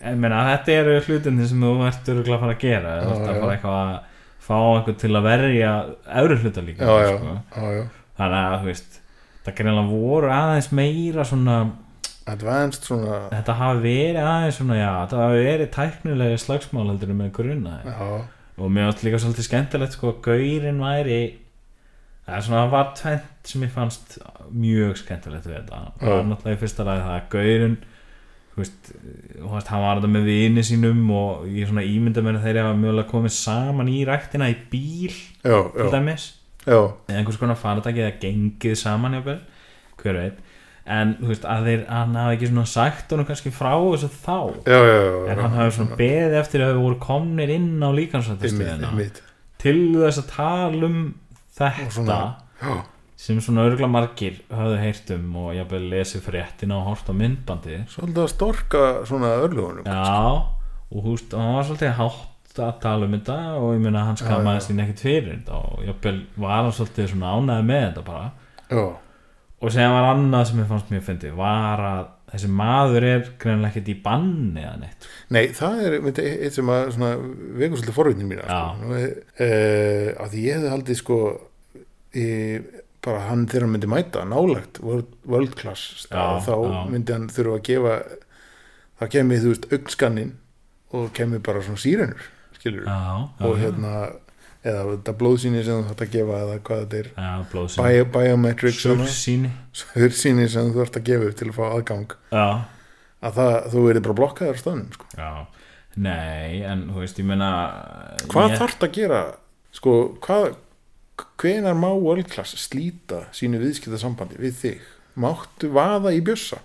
ég meina, þetta eru hlutinni sem þú ert örugglega að fara að gera þú ert að fara eitthvað að fá einhvern til að verja öðru hluta líka
já, já,
Sko.
já, já
þannig að þú veist það greinlega voru aðeins meira svona,
advanced svona
þetta hafi verið aðeins svona, já, þetta hafi verið tæknilegi slagsmál heldur með gruna
já,
og mér átt líka svolítið skemmtilegt sko að gaurin væri það er svona, það var tvent sem ég fannst mjög skemmtilegt við þetta það var
Já.
náttúrulega í fyrsta lagi það að gaurin þú veist, þú veist, hann var þetta með vini sínum og ég svona ímynda mér að þeir hafa mjögulega komið saman í ræktina í bíl
já,
til
já,
dæmis
já,
eða einhvers konar faratæki eða gengið saman jáfnvel, hver veit en þú veist, að þeir, að hann hafi ekki svona sagt honum kannski frá þessu þá
já, já, já,
en hann hafi svona beðið eftir að þau voru komnir inn á líkansvættastöðina
einmitt,
til þess að tala um þetta
svona- já,
sem svona örgla margir hafðu heyrt um og jafnvel lesið fréttina og hort á myndbandi
svolítið að storka svona örlugunum
já, og húst og hann var svolítið hátt að tala um þetta og ég meina hann skammaði sín ekkert fyrir þetta og jafnvel var hann svolítið svona ánæði með þetta bara
já,
og sem var annað sem ég fannst mjög fyndið var að þessi maður er greinlega ekkert í banni eða neitt sko.
nei, það er einmitt eitt sem að svona vegur svolítið forvitnin mín
Já.
sko. e, að því ég hefði haldið sko e, bara hann þegar hann myndi mæta nálægt world, world class stað,
Já,
þá
já.
myndi hann þurfa að gefa það kemur þú veist augskannin og kemur bara svona sírenur skilur
já, já,
og hérna eða þetta blóðsýni sem þú þarft að gefa eða hvað þetta er
já, blóðsýn,
Bio, biometrics
sursýni
hursýni sem þú þarft að gefa upp til að fá aðgang
já,
að það, þú verður bara blokkaður á staðnum sko.
Já, Nei, en þú veist, ég meina
Hvað
ég-
yeah. þarf að gera? Sko, hvað, hvenar má World Class slíta sínu viðskiptasambandi við þig? Máttu vaða í bjössa?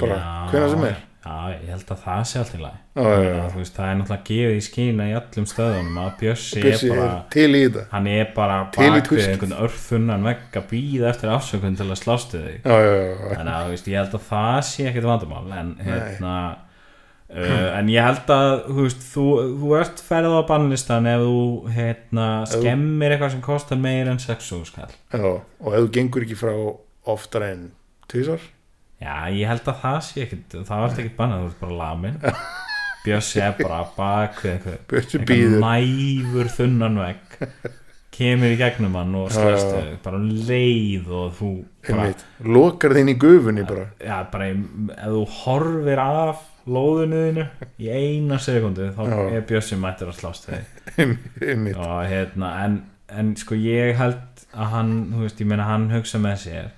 bara,
Já,
hvenær sem er?
Já, ég held að það sé allt í lagi
Já, já,
Þannig að, Þú veist, það er náttúrulega gefið í skýna í öllum stöðunum að Bjössi er
Bjössi
bara
er til í þetta
hann er bara
Til í
bakvið
tvist.
einhvern örfunnan vegg að býða eftir afsökun til að slástu þig
Já, já, já, já.
þannig að þú veist, ég held að það sé ekkert vandamál en hérna uh, en ég held að þú, veist, þú, þú ert ferð á bannlistan ef þú hérna, skemmir eitthvað sem kostar meira en 6 skall
já Og ef þú gengur ekki frá oftar en tvisar
Já, ég held að það sé ekkert það var ekkert bannað, þú ert bara
[laughs]
lamin Bjössi er bara bak við einhver-
Bjössi
einhvern
bíður.
næfur þunnan vegg kemur í gegnum hann og slæstu
Já,
bara um leið og þú bara,
Einmitt, lokar þín í gufunni bara [laughs]
já, bara í- ef þú horfir af lóðunuðinu í eina sekundu þá
Já.
er Bjössi mættur að slást við þig.
Einmitt,
og hérna en, en sko ég held að hann þú veist, ég meina hann hugsa með sér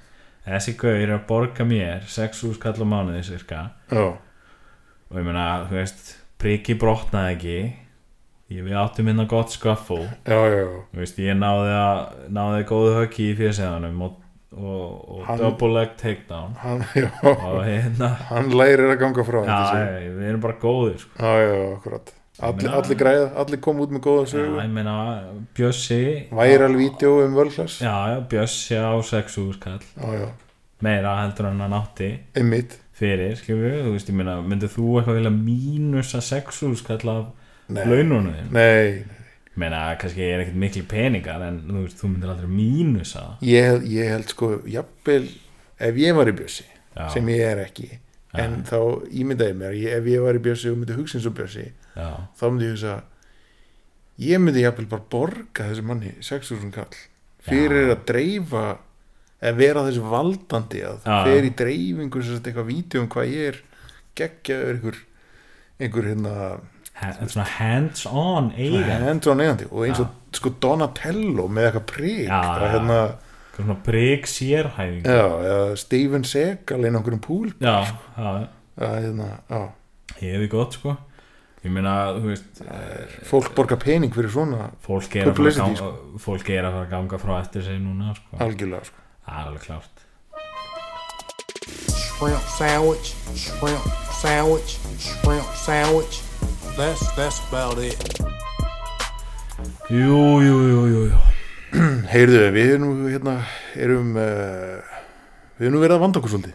þessi gaur er að borga mér 6 úrskall á mánuði cirka
já,
og ég meina, þú veist priki brotnaði ekki ég við áttum hérna gott sköfful
já, já, já.
þú veist, ég náði að náði góðu höggi í fjörsæðanum og, og, og
Hann-
double leg takedown
Hann, [laughs] já.
og hérna
Hann lærir að ganga frá
já,
þessu.
ég- við erum bara góðir sko.
já, já, akkurat Allir,
meina-
allir græða, allir kom út með góða
já,
sögu
ég meina, Bjössi
Væral vídeo um völklass
já, já, Bjössi á sexu skall
Já, já,
meira heldur en hann átti
einmitt
fyrir, skilur, þú veist, ég meina myndið þú eitthvað vilja mínusa sexu skall af
Nei.
laununum þínum?
Nei,
meina, kannski er ekkert miklu peningar en þú veist, þú myndir aldrei mínusa það.
ég, ég held sko jafnvel, ef ég var í bjössi
Já.
sem ég er ekki en þá ímyndaði ég mér, ég, ef ég var í bjössi og myndi hugsa eins og bjössi
já,
þá myndi ég hugsa ég myndi jafnvel bara borga þessu manni 6.000 kall fyrir að dreifa eða vera þessu valdandi að
Já.
fer í dreifingu sem sagt eitthvað vídeo um hvað ég er geggjaður einhver einhver hérna
He- svona hands on eiga,
hendur á neyðandi og eins og sko Donatello með eitthvað prík
Já,
að
já.
hérna
svona prik sérhæfing
Já, eða Steven Segal inn á einhverjum púl
já, já,
að, hérna, já,
ég hefði gott sko ég meina, þú veist
fólk borga pening fyrir svona
fólk er að fara að
Publicity, sko.
ganga, fólk er að fara að ganga frá eftir sig núna sko, það
algjörlega sko.
er alveg klárt
shrimp sandwich, shrimp sandwich, shrimp sandwich. That's that's about it.
jú, jú, jú, jú, jú.
heyrðu, við erum hérna, erum uh, við erum verið að vanda okkur svolítið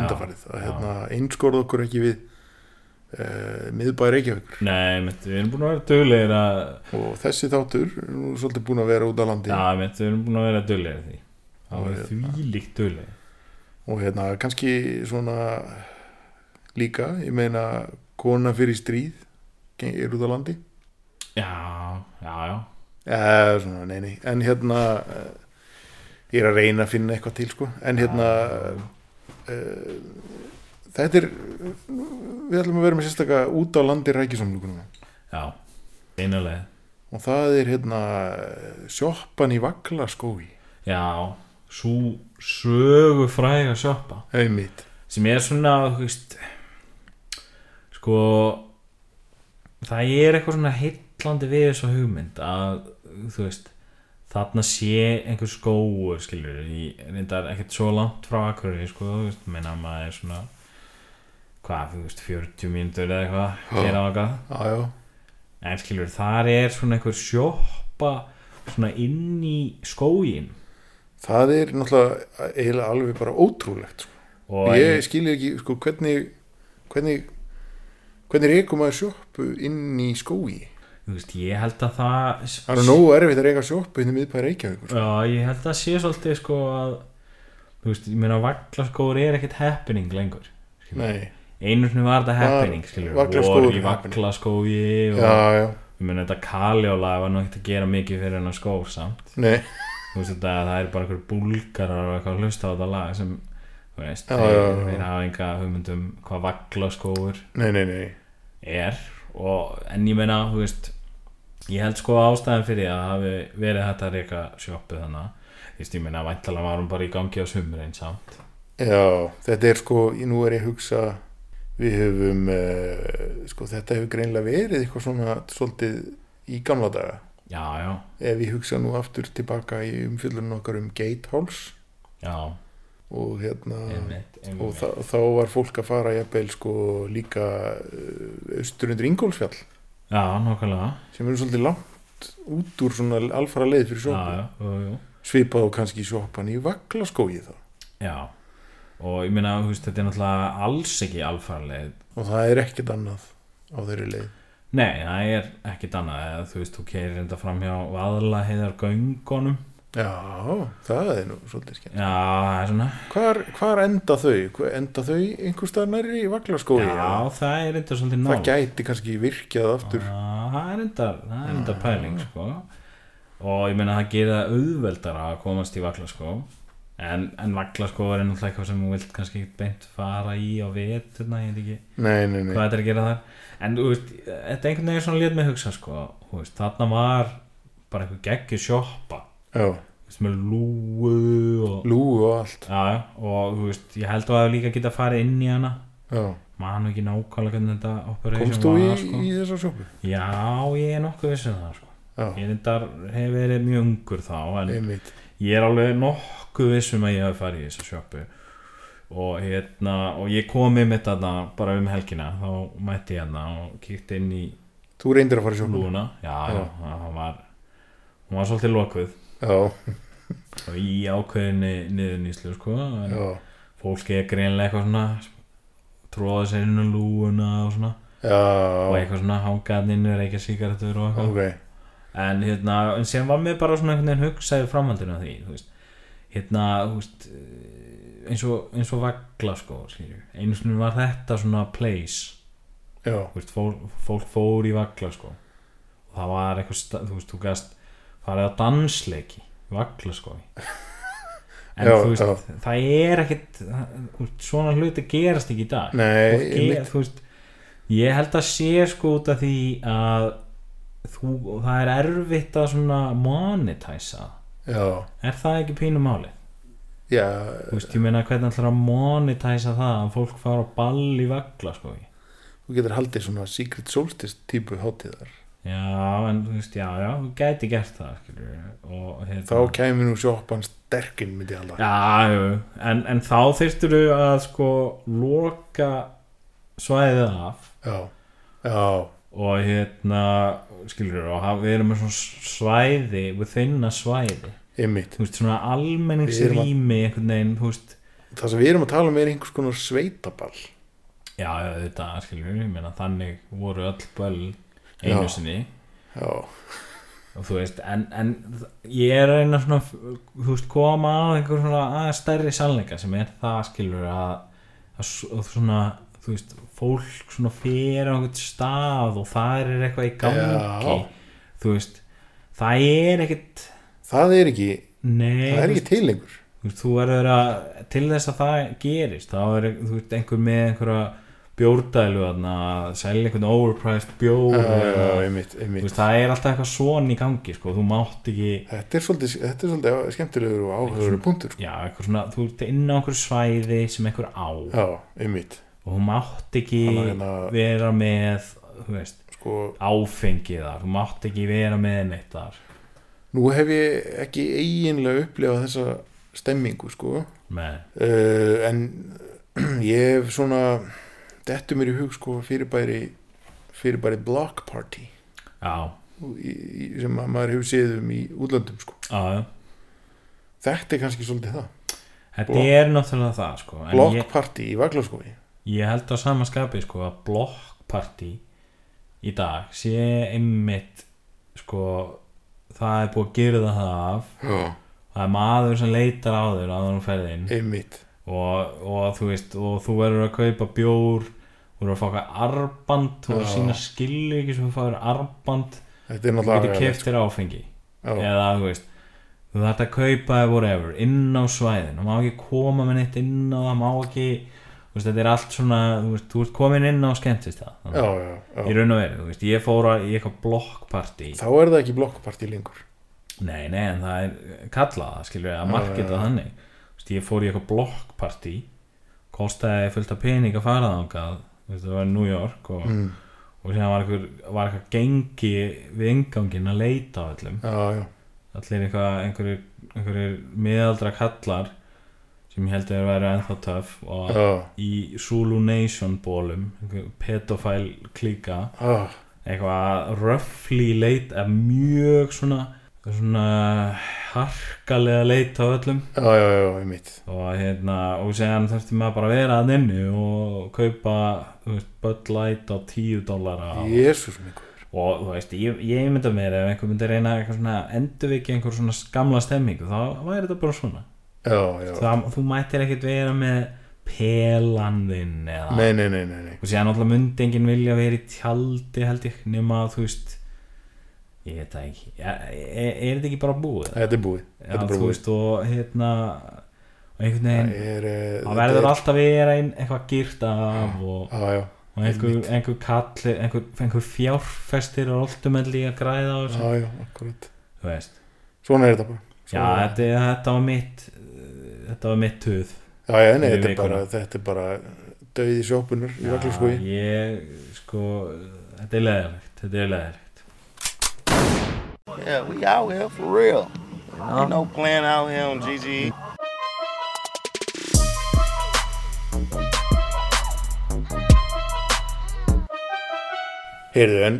undanfarið, að hérna, einskorða okkur ekki við uh, miðbæri Reykjavíkur
nei, mitt, við erum búin að vera duglegir að
og þessi þáttur er nú svolítið búin að vera út á landi
já, mitt, við erum búin að vera duglegir því það var því líkt duglegir
og hérna, kannski svona líka, ég meina kona fyrir stríð gen- er út á landi
já, já, já,
Eh, svona, nei, nei. En hérna eh, ég er að reyna að finna eitthvað til sko. en hérna eh, þetta er við ætlum að vera með sérstaka út á landi rækisomlugunum
já einulega
og það er hérna sjoppan í Vaglaskói
Já, svo sögu fræga sjoppa
einmitt
sem er svona, þú veist sko það er eitthvað svona heitlandi við þessu hugmynd að, þú veist þarna sé einhver skóu skilur, í, reyndar ekkert svo langt frá akkurri, sko, þú veist, meina maður er svona hvað, þú veist 40 mínútur eða eitthvað, gera eitthvað
já, já.
En skilur, þar er svona einhver sjoppa svona inn í skógin
það er náttúrulega eiginlega alveg bara ótrúlegt sko.
og
ég skilja ekki sko, hvernig hvernig hvernig reykum maður sjoppu inn í skói
Þú veist, ég held að það
það er nógu erfitt að reyka sjoppu inn í miðbæri Reykjavíkur
Já, ég held að sé svolítið sko að Þú veist, ég meina vaglaskóður er ekkert happening lengur
nei
Einu sinni var þetta happening, skilur
Vaglaskógur
Vor í
er happening.
vaglaskói og
já, já,
Ég meina þetta kaljóla var nú ekkert að gera mikið fyrir hennar skó samt
nei
Þú veist þetta, það er bara einhver búlgarar og eitthvað að hlusta á þetta lag sem Þú veist,
Já,
þeir,
já, já.
þeir hafa enga hugmyndum hvað vaglaskóður
Nei, nei, nei,
er og, en ég meina, þú veist ég held sko að ástæðan fyrir að það hafi verið þetta að reyka sjoppu þannig þú veist, ég meina, væntalega var hún bara í gangi á sumur einsamt
já, þetta er sko, nú er ég að hugsa við höfum uh, sko þetta hefur greinlega verið eitthvað svona svolítið í gamla daga
já, já,
ef ég hugsa nú aftur tilbaka í umfyllunum okkar um Gatehouse
já
og hérna
einmitt,
og
einmitt.
þá, þá var fólk að fara jafnvel sko líka eh, austur undir Ingólfsfjall
já, nokkulega
sem eru svolítið langt út úr svona alfara leið fyrir
já,
sjoppu
já, jú, jú.
svipað og kannski sjoppan í Vaglaskógi þá
já og ég meina, þú veist, þetta er náttúrulega alls ekki alfaraleið
og það er ekkert annað á þeirri leið
nei, það er ekkit annað eða, þú veist, þú keirir þetta fram hjá vaðla heiðar göngunum
já, það er nú svolítið skemmt
já, það er svona
hvar, hvar enda þau? Hvar- enda þau einhvers staðar nærri í Vaglaskógi eða?
já, það er þetta svolítið
það
nátt
gæti kannski virkjað aftur
Já, það er enda, það er enda pæling sko. og ég meina það gerir það auðveldara að komast í vagla sko. en, en vagla sko er náttúrulega eitthvað sem þú vilt kannski ekki beint fara í á veturna, ég veit ekki
nei, nei, nei,
hvað þetta er að gera þar en þú veist, þetta er einhvern veginn svona lét mig hugsa sko. Þú veist, þarna var bara einhver geggjur sjoppa
já,
Þú veist, með lúu og,
lúu og allt
já, já, og þú veist, ég held að það líka geta farið inn í hana
já.
manu ekki nákvæmlega hvernig þetta operation
komst þú í,
var sko.
í þessa sjoppu?
Já, ég er nokkuð vissið það sko.
já,
Ég reyndar hef verið mjög ungur þá en
einmitt
ég er alveg nokkuð viss um að ég hef farið í þessa sjoppu og hérna og ég kom um þetta bara um helgina þá mætti ég hérna og kíkti inn í
þú reyndir að fara í sjoppu?
lúna já, já, það var hún var svolítið lokuð
já,
og í ákveðinni niður nýslu sko en
já,
fólki er greinlega eitthvað svona tróða sér inn um lúuna og svona og
já
eitthvað svona hangaðninu reykja sigarettur og eitthvað
ok,
en hérna, en sem var mér bara svona einhvern veginn hugsaði framhaldinu af því þú veist, hérna, þú veist eh, eins og, eins og vagla sko skilju. einu sinni var þetta svona place,
já
þú veist, fólk, fólk fór í vagla sko og það var eitthvað, sta- þú veist, þú gast farið á dansleiki, í vagla
[laughs]
sko en
Já,
þú veist
já.
það er ekkit það- þú veist, svona hluti gerast ekki í dag
Nei,
Fólk
einmitt.
er, þú veist ég held að sé sko út af því að þú, það er erfitt að svona monetæsa
Já,
er það ekki pínum máli
já,
þú veist, ég meina hvernig ætlar að monetæsa það að fólk fara á ball í vagla sko
þú getur haldið svona Secret Solstice típu hátíðar
já, en þú veist, já, já, þú gæti gert það skilur, og hérna
Þá kæmi nú sjoppan sterkinn myndi ég halda
Já, jú, jú. en, en þá þyrstur þú að sko loka svæðið af
Já, já,
og hérna, skilur þú, og hafa- við erum með svona svæði, within a svæði,
einmitt
þú veist, svona
Við erum að-
almenningsrými einhvern veginn, þú veist,
Það sem við erum að tala um er einhvers konar sveitaball
já, já, þetta, skilur þú, ég meina þannig voru öll böll einu
Já.
sinni
Já,
og þú veist, en, en ég er að reyna svona, þú veist, koma að einhver svona aðeins stærri sannleika sem er það skilur að, að s- að svona, þú veist, fólk svona fyrir á einhvern stað og það er eitthvað í gangi
Já.
þú veist, það er ekkit
það er ekki,
nei,
það er
þú
ekki til lengur
þú veist, þú verður að til þess að það gerist þá er þú veist, einhver með einhverja bjórdælu þarna, að selja einhvern overpriced bjór
Já, já,
eða-
einmitt,
þú veist,
einmitt
það er alltaf eitthvað svona í gangi sko, þú mátt ekki
Þetta er svolítið, þetta er svolítið skemmtilegur og áhugaður punktur sko.
já, eitthvað svona, þú ert inn á einhver svæði sem einhver á
Já, einmitt,
og þú mátt ekki
Hann er hérna-
vera með þú veist,
sko
áfengi þar þú mátt ekki vera með neitt þar
Nú hef ég ekki eiginlega upplifað þessa stemmingu sko
með,
uh, en [clears throat] ég hef svona dettu mér í hug sko fyrirbæri fyrirbæri block party
já,
í, í, sem að maður hefur séð um í útlöndum sko
já já.
þetta er kannski svolítið það
þetta
Blokk.
er náttúrulega það sko, en
block
ég,
party í Vaglaskói
ég held á sama skapi sko, að blokkparti í dag sé einmitt sko, það er búið að gera það af það er maður sem leitar á þér að hann ferði inn
einmitt
og, og þú veist og þú verður að kaupa bjór þú verður að fá eitthvað arband þú verður að
Já.
sína skilu ekki sem þú fáir arband
þetta er
þú getur
náttúrulega
keft þér áfengi
sko. já,
eða þú veist þú þarft að kaupa eða whatever inn á svæðin þú má ekki koma með neitt inn á það má ekki þú veist þetta er allt svona þú veist þú ert komin inn á skemmtist það
já, já,
í
já.
raun og veru þú veist ég fór að í eitthvað blokkparti
þá er það ekki block party lengur
Nei, nei, en það er kallað það, skilur við, að marketa
já, já.
þannig Þú veist, ég fór í eitthvað blokkpartí kostaði fullt af pening að fara þangað þetta var New York og,
Mm.
og síðan var eitthvað var eitthvað gengi við ingangin að leita á öllum
já, já,
allir eitthvað einhverjir, einhverjir miðaldra kallar sem ég held að þeir væri ennþá töff og
já,
í Zulu Nation bólum pedofæl klíka
já,
eitthvað roughly leit að mjög svona svona harkalega leit á öllum
já, já, já, ég mitt
og hérna og séðan þurfti maður bara að vera að nynnu og kaupa þú veist, Bud Light á 10 dólara og,
Jésús mingur
og þú veist, ég, ég mynda mér ef einhver myndi reyna eitthvað svona endurviki einhver svona gamla stemmingu þá væri þetta bara svona
Já, já,
það, þú mættir ekkert vera með pelan þinn eða
nei, nei, nei, nei, nei.
og síðan alltaf myndi enginn vilja vera í tjaldi held ég nema að þú veist ég veit það ekki er, er, er þetta ekki bara búið?
Þetta er búið
Já,
Þetta er bara
þú
búið
veist og hérna og einhvern veginn
Það er, eh,
það
þetta
verður
er-
alltaf að vera ein, eitthvað gýrt af og,
Já, já,
og einhver, einhver kall einhver, einhver fjárfestir og alltumelli að græða á þessu
já, já, akkurat
þú veist
Svona er þetta bara
já
Svona-
þetta, þetta var mitt uh, þetta var mitt töð
Já, já, nei,
Yfir
þetta er
vikuna.
bara, þetta er bara döið í sjópunur í
Já,
allir skoði
ég sko þetta er leðilegt þetta er leðilegt
Yeah, we out here for real. Ain't no plan out here on GG.
Heyrðu, en,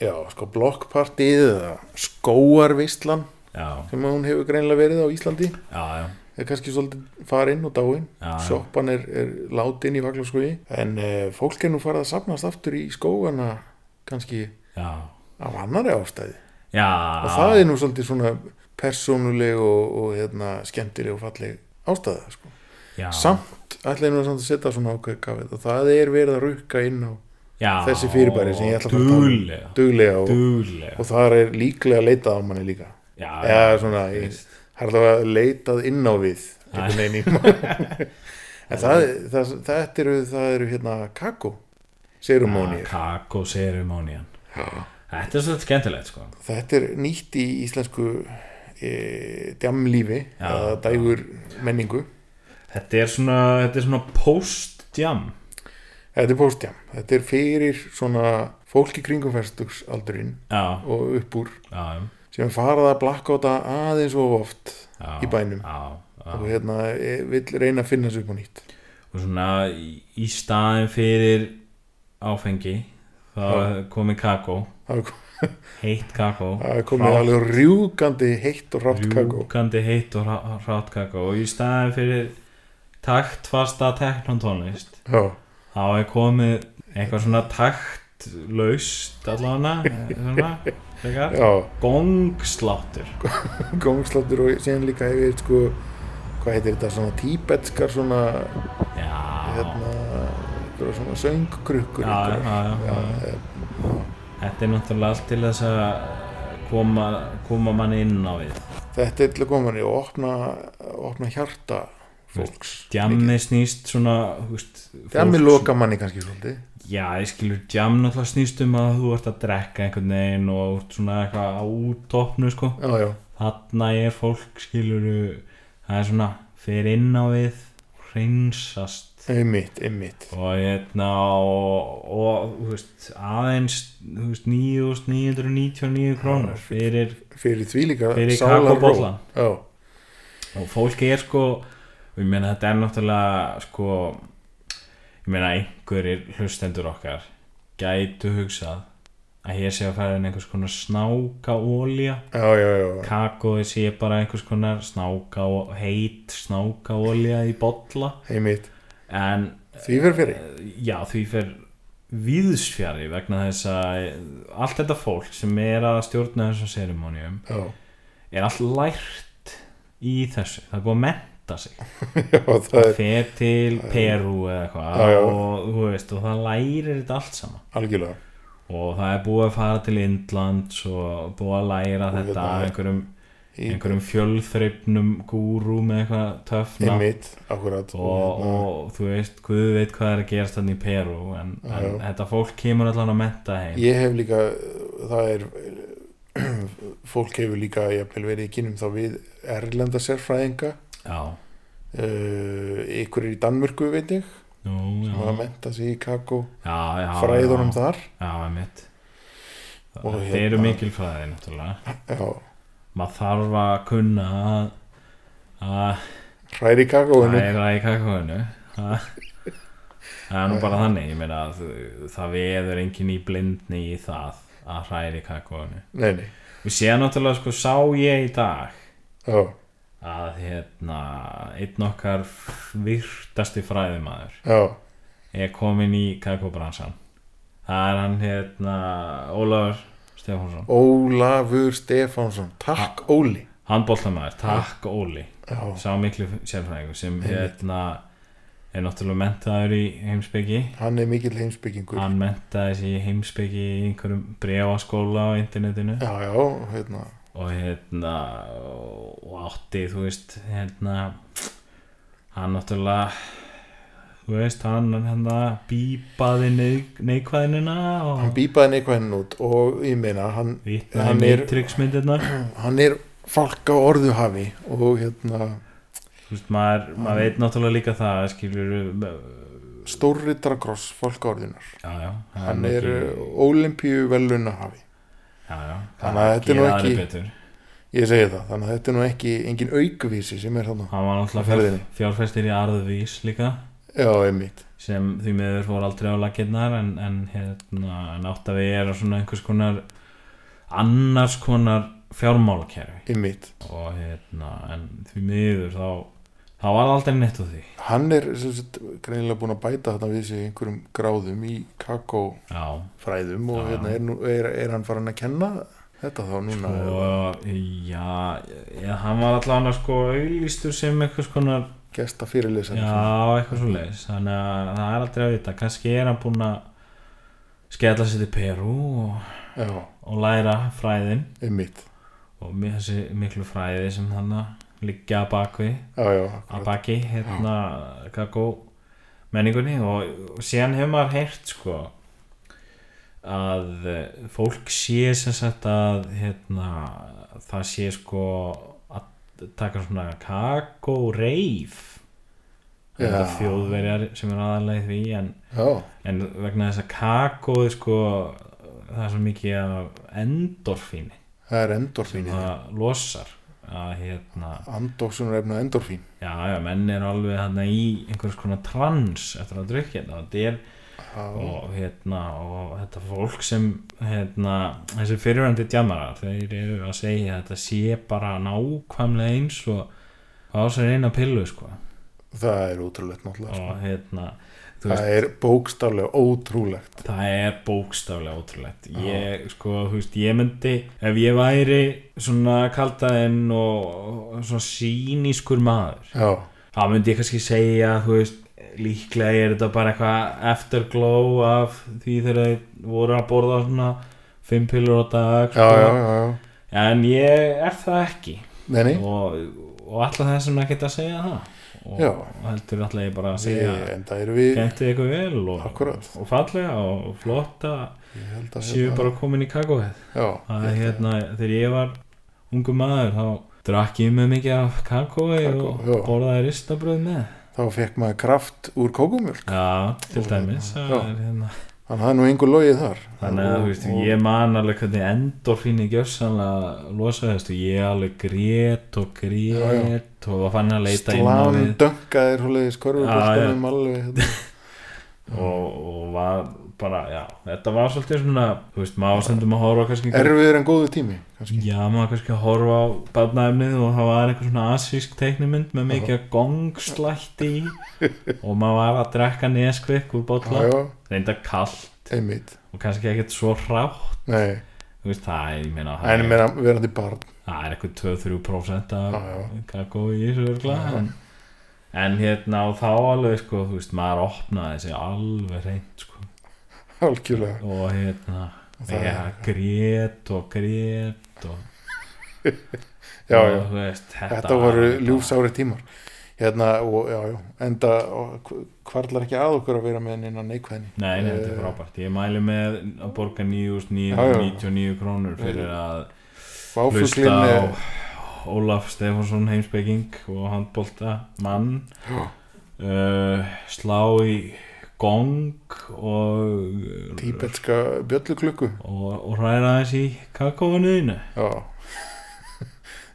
já, sko, blokkpartið eða skóarvislan
já,
sem hún hefur greinlega verið á Íslandi
já, já,
er kannski svolítið farinn og dáinn
Já, já.
Sjoppan er, er látin í vaglaskoði en eh, fólk er nú farið að safnast aftur í skógana kannski
já.
af annari ástæði
Já,
og það er nú svolítið svona persónuleg og, og hérna, skemmtileg og falleg ástæða sko.
já,
samt, ætla ég nú samt að setja svona ákveð kafið og það er verið að rukka inn á
já,
þessi fyrirbæri sem ég ætla að fara að tala um.
Ah, duglega,
duglega og,
duglega.
og það er líklega leitað á manni líka
Já,
eða svona, ég
veist.
það er alveg leitað inn á við einhvern veginn í mann
[laughs]
en það, það, það eru, það eru hérna kakó serumónir,
Ah, kakó ceremonian þetta er svolítið skemmtilegt sko
þetta er nýtt í íslensku e, djamlífi
Já,
eða dægur menningu
Þetta er svona, þetta er svona post-jam
Þetta er póstjam, þetta er fyrir svona fólki kringum ferstugsaldurinn
Já,
og upp úr
já,
sem farað að blakkóta aðeins og oft
já
Í bænum.
Já, já
og hérna eh, vill reyna að finna þessu upp á nýtt
Og svona í í staðin fyrir áfengi þá er komið kakó,
Það er kom-
heitt kakó
það er komið
hrátt,
alveg rjúkandi heitt og rátt kakó
Rjúkandi heitt og hrá- hrátt kakó og í staðin fyrir taktfasta teknóntónlist
Já,
þá er komið eitthvað svona taktlaust allavega eh, svona, frekar.
já,
gongsláttur
gómsláttur og síðan líka hefur sko, hvað heitir þetta, svona tíbetskar svona,
Já,
hérna einhverjar svona söngkrukkur
já, já,
einhverjar.
já, já.
hérna.
Þetta er náttúrulega allt til þess að koma, koma manni inn á við
Þetta er til að koma manni og opna, opna hjarta fólks
Djammi snýst svona þú veist,
Djammi
fólk-
loka manni kannski svolítið
Já, ég skilur djam náttúrulega snýst um að þú ert að drekka einhvern veginn og ert svona eitthvað á útopnu sko.
Já, já,
Þarna er fólk skilur það er svona fer inn á við hreinsast
Einmitt, einmitt
og hérna og, og þú veist, aðeins þú veist, 9.999 krónur fyrir
Fyrir því líka
Fyrir
sálarró.
kakóbollan.
Já,
og fólki er sko og ég meina þetta er náttúrulega sko ég meina einhverjir hlustendur okkar gætu hugsað að hér sé að fara inn einhvers konar snáka ólja
já, já, já
kakói sé bara einhvers konar snáka heit snáka ólja í bolla
Einmitt,
en
því fyrir fyrir
já, því fer víðsfjari vegna þess að allt þetta fólk sem er að stjórna þessum serimónium
Já, [laughs]
er allt lært í þessu, það er búið að menta sig
já, það er
fer til Perú eða
Já,
eitthvað
já.
og, þú veist, og það lærir þetta allt saman
algjörlega
og það er búið að fara til Indlands og búið að læra þetta
hérna-
af einhverjum,
Í-
einhverjum fjölþreifnum gúrú með eitthvað töfna
Einmitt, Hérna. akkurat
og, og þú veist, Guð veit hvað er að gerast þannig í Perú en, en
Já.
þetta fólk kemur allan að metta heim
Ég hef líka, það er [clears throat] fólk hefur líka jafnvel verið í kynum þá við erlenda sérfræðinga Eh,
Já,
uh, ykkur er í Danmörku veit ég
Nú,
sem var
já,
að menta sig í kakó
já, já
fræðunum
já.
þar
Já, einmitt
Og
Þeir
hérna-
eru mikil fræði, náttúrulega
já,
Maður þarf að kunna að að
hræri í kakóinu
hræra í kakóinu Ha? Það er nú bara þannig, ég meina að þú- það veður enginn í blindni í það að hræra í kakóinu
nei, nei,
Og séð náttúrulega sko sá ég í dag
já,
að hérna einn okkar virtasti fræðimaður
já
er komin í kakóbransan það er hann hérna Ólafur Stefánsson
Ólafur Stefánsson takk Óli
handbóltamæður, takk Óli
já,
sá miklu sérfræðingur sem hérna er náttúrulega mentaður í heimsbyggi
hann er mikill heimsbyggingur
hann mentaði sig í heimsbyggi í einhverjum brefaskóla á internetinu
já, já, hérna
og hérna og átti þú veist hérna hann náttúrulega þú veist hann hérna bíbaði neik neikvæðinina og
hann bípaði neikvæðin út og ég meina hann,
vitnaði
hann, er,
Matrix-myndirnar
hann er fólk á orðuhafi og hérna
þú veist maður, maður veit náttúrulega líka það skilur já,
stórrittarakross fólk á orðunar
já,
hann
nú
er uh,
ekki-
ólimpíu velunahafi
já, já,
Þannig að þetta er nú
gera aðrir
ekki-
betur.
ég segi það, þannig að þetta er nú ekki engin aukvísi sem er þarna
hann var náttúrulega
Á
fjár,
ferðinni.
fjárfæstir í Arðvís líka
já, einmitt,
sem því miður fór aldrei á lakirnar en, en, hérna, en átt að við erum svona einhvers konar annars konar fjármálakerfi
einmitt
og hérna en því miður þá þá var aldrei neitt úr því
hann er sem sagt, greinilega búin að bæta þarna við sig einhverjum gráðum í kakófræðum
já,
og
Já.
hérna er, nú, er, er hann farin að kenna þetta þá
Sko,
núna
og já, já hann var allavega sko auðlýstur sem einhvers konar
gesta fyrirlisa
Já, eitthvað svo leiðis Þannig að það er aldrei að vita Kannski er hann búinn að skella sér til Perú og,
já,
og læra fræðin
einmitt
og mi- þessi miklu fræði sem hann að liggja að bakvi
já, já,
að
akkurat.
baki, hérna kakó menningunni og, og síðan hefur maður heyrt sko að eh, fólk sé sem sagt að hérna, það sé sko að taka svona kakó reif þetta
Já.
þjóðverjar sem er aðalega því en,
já,
en vegna þess að kakóð sko það er svo mikið af endorfíni
það er endorfín í
það losar að hérna
því. andóksunarefna endorfín
Já, já, menn er alveg þarna í einhvers konar trans eftir að drukja þetta og þetta er og hérna og þetta fólk sem hérna, þessi fyrirvændi djamarar þeir eru að segja að þetta sé bara nákvæmlega eins og á sér eina pillu sko
það er ótrúlegt náttúrulega sko.
og hérna þú veist,
það er bókstaflega ótrúlegt
það er bókstaflega ótrúlegt ég, sko, þú veist, ég myndi ef ég væri svona kaldaðinn og og svona sínískur maður
já,
þá myndi ég kannski segja þú veist, líklega er þetta bara eitthvað efterglow af því þegar þau voru að borða svona fimm pillur á dag
já, já,
sko.
já, já.
en ég er það ekki
Nei, nei,
og, og alltaf þess að geta að segja það og
Já.
heldur alltaf ég bara að segja
við, en það eru við
gentið eitthvað vel og,
Akkúrat.
og fallega og flotta
ég held að
séu
hérna-
bara komin í kakóið
já,
að
ég-
hérna, þegar ég var ungu maður þá drakk ég með mikið af kakói
Kakó,
og
já.
borðaði ristabröð með
þá fekk maður kraft úr kókumjölk
Já, til dæmis það
Já.
er hérna.
þannig að það er nú einhver logið þar
Þannig að þú veist, ég man alveg hvernig endorfíni gjössanlega losa þessu Ég alveg grét og grét
Já,
og var fann að leita inn á
slán
við
dönkaðir hólaðis körfuboltanum alveg hérna.
og, og var bara, já, þetta var svolítið svona Þú veist, maður stundum að horfa á kannski
erfiður en góðu tími kannski.
Já, maður kannski að horfa á barnaefnið og það var eitthvað svona asísk teiknumynd með mikið af gongslætti í og maður var að drekka neskvik úr
já,
bolla
já,
reynda kall
einmitt
og kannski ekkert svo hrátt
Nei,
Þú veist, það er, ég meina, það
en
er,
meira verandi barn [laughs]
það er eitthvað 2-3% af
Já, já.
kakó í þessu örgla en, en hérna og þá alveg, sko, þú veist, maður opnaði sig alveg reynd, sko
algjörlega
og hérna,
það-
ég grét og grét og,
já,
og
já,
þú veist, þetta,
þetta voru ljúfsári tímar hérna, og já, já, enda og hv- hvarlar ekki að okkur að vera með henni neikvæðni
Nei, nei, þetta er
Eh,
frábært. Ég mæli með að borga
Já, já.
9.999 krónur fyrir að
Váfuglinn
hlusta á
er-
Ólaf Stefánsson heimspeking og handbólta mann uh, slá í gong og,
tíbetska bjölluklukku
og, og hræra aðeins í kakóanuðinu
já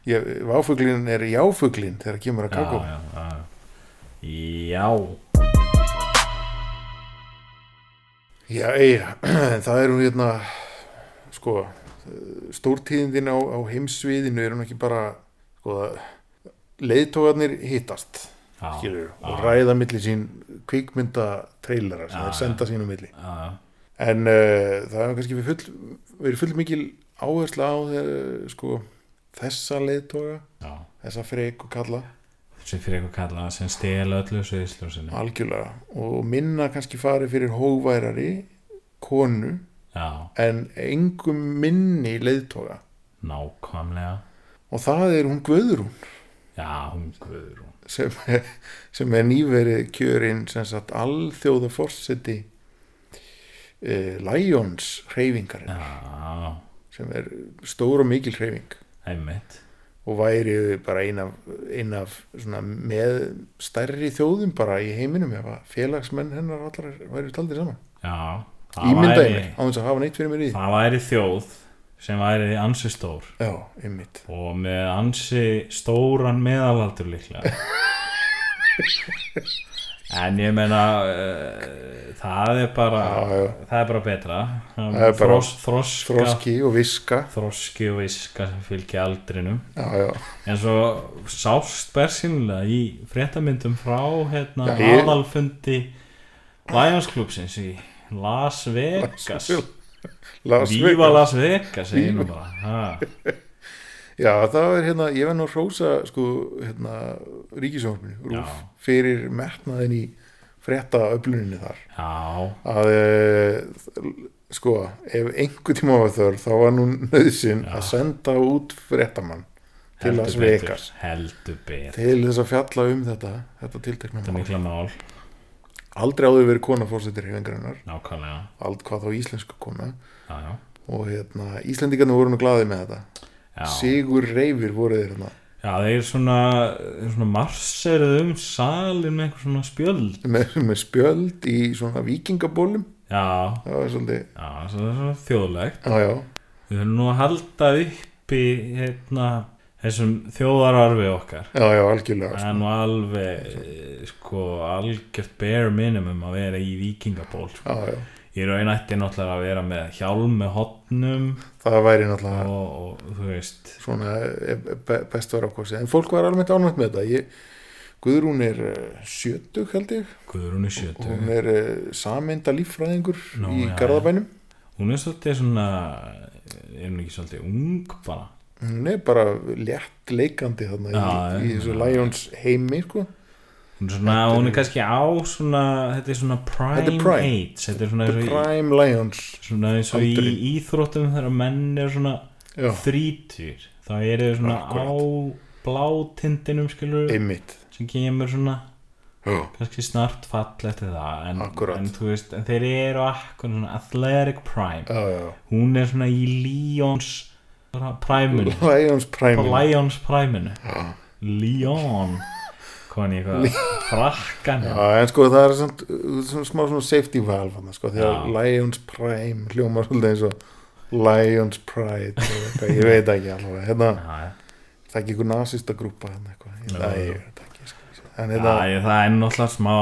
[laughs] ég, váfuglin er jáfuglin þegar kemur að kakó
já, já, já. já.
Já, eiga, [clears throat] það eru hérna sko stórtíðindin á, á heimsviðinu er hún ekki bara sko, það- leiðtógarnir hittast
Já,
skilur, og ræða milli sín kvikmynda trailera sem þeir senda sín á milli
já.
en uh, það hefur kannski verið full, verið full mikil áhersla á þeir, sko, þessa leiðtóga
Já.
þessa frek og kalla
sem fyrir eitthvað kalla sem stela öllu sviðsljósinu
algjörlega og minna kannski farið fyrir hóværari konu
já,
en engum minni leiðtoga
nákvæmlega
og það er hún Guðrún
já, hún Guðrún
sem [laughs] er, sem er nýverið kjörin sem sagt alþjóða forseti uh, Lions hreyfingarinn
já,
sem er stór og mikil hreyfing
einmitt
og væri bara ein af, ein af svona með stærri þjóðum bara í heiminum ef að félagsmenn hennar allar væri taldir saman
já, það
ímyndaði
væri
mér á þess að hafa neitt fyrir mér í því
það væri þjóð sem væri ansi stór
já, einmitt
og með ansi stóran meðalaldur líklega en ég meina uh, það er bara
Já, já.
það er bara betra
Það er bara
Þros, þroska,
froski og viska
þroski og viska sem fylgja aldrinum
já, já
En svo sást bersinlega í fréttamyndum frá hérna,
Já, ég-
aðalfundi Lions Clubsins í Las Vegas
[laughs] Las
Víva
Vegas.
Las Vegas segir nú bara ha.
Já, það er hérna, ég verð nú að hrósa sko, hérna, ríkisjónfinu Rúf,
Já.
fyrir metnaðin í frétta öfluninni þar
Já,
að eh, sko, ef einhver tíma var þörf þá var nú nöðsinn að senda út fréttamann til
heldur
Las
betur,
Vegas
Heldur betur,
til þess að fjalla um þetta þetta tiltekna
þetta er
mál
mikla mál
aldrei áður verið kona fórsetir hefingarinnar
Nákvæmlega,
allt hvað þá íslensku kona
já, já
og hérna, Íslendingarnir voru nú glaðið með þetta
Já,
Sigur Reifir voru þeir hérna
já þeir svona, þeir svona marseruð um salin með einhver svona spjöld
með, með spjöld í svona vikingabólum
Já,
það var svolítið
já, svo það er svona þjóðlegt
Já, já,
Við höfum nú að halda uppi hérna, þessum þjóðararfi okkar.
já, já, algjörlega sko.
Það er nú alveg, eh, sko, algjört bare minimum að vera í vikingaból. Sko.
Já, já,
Ég raun ætti náttúrulega að vera með hjálm með hotnum
það væri náttúrulega
og, og þú veist,
svona eh, be- best var ákvæmst en fólk var alveg ánægt með þetta ég, Guðrún er eh, sjötug held ég
Guðrún er
og
sjötu.
hún er samenda líffræðingur
Nú,
í
já, já.
Garðabænum
Hún er svolítið svona, er hún ekki svolítið ung bara?
hún er bara létt leikandi þarna í,
Já,
í
já.
þessu Lions heimi sko.
Hún er, svona, hún er kannski á svona, þetta er svona prime,
Þetta er prime.
age. Þetta er svona
The
eins og í-
Prime Lions
svona eins og í
Aldurinn.
íþróttum þegar menn er svona
Já.
þrítur þá er þau svona á blátindinum skilur
einmitt
sem kemur svona
já,
kannski snart fall eftir það en,
Akkúrat.
en, þú veist, en þeir eru akkur svona athletic prime
já, já.
hún er svona í Lyons primun
Lions Prime
Lyons priminu Lyon hvað er eitthvað frakkan
Já, en sko það er samt, uh, svona smá svona safety valve hann, sko, því að Lions Prime hljómar svolítið eins og Lions Pride og eitthvað, ég veit ekki alveg, hérna,
Já,
það er ekki einhver nasista grúpa hérna eitthvað, ég, það, ég veit ekki, sko, en
Já,
hérna,
ég, það er náttúrulega smá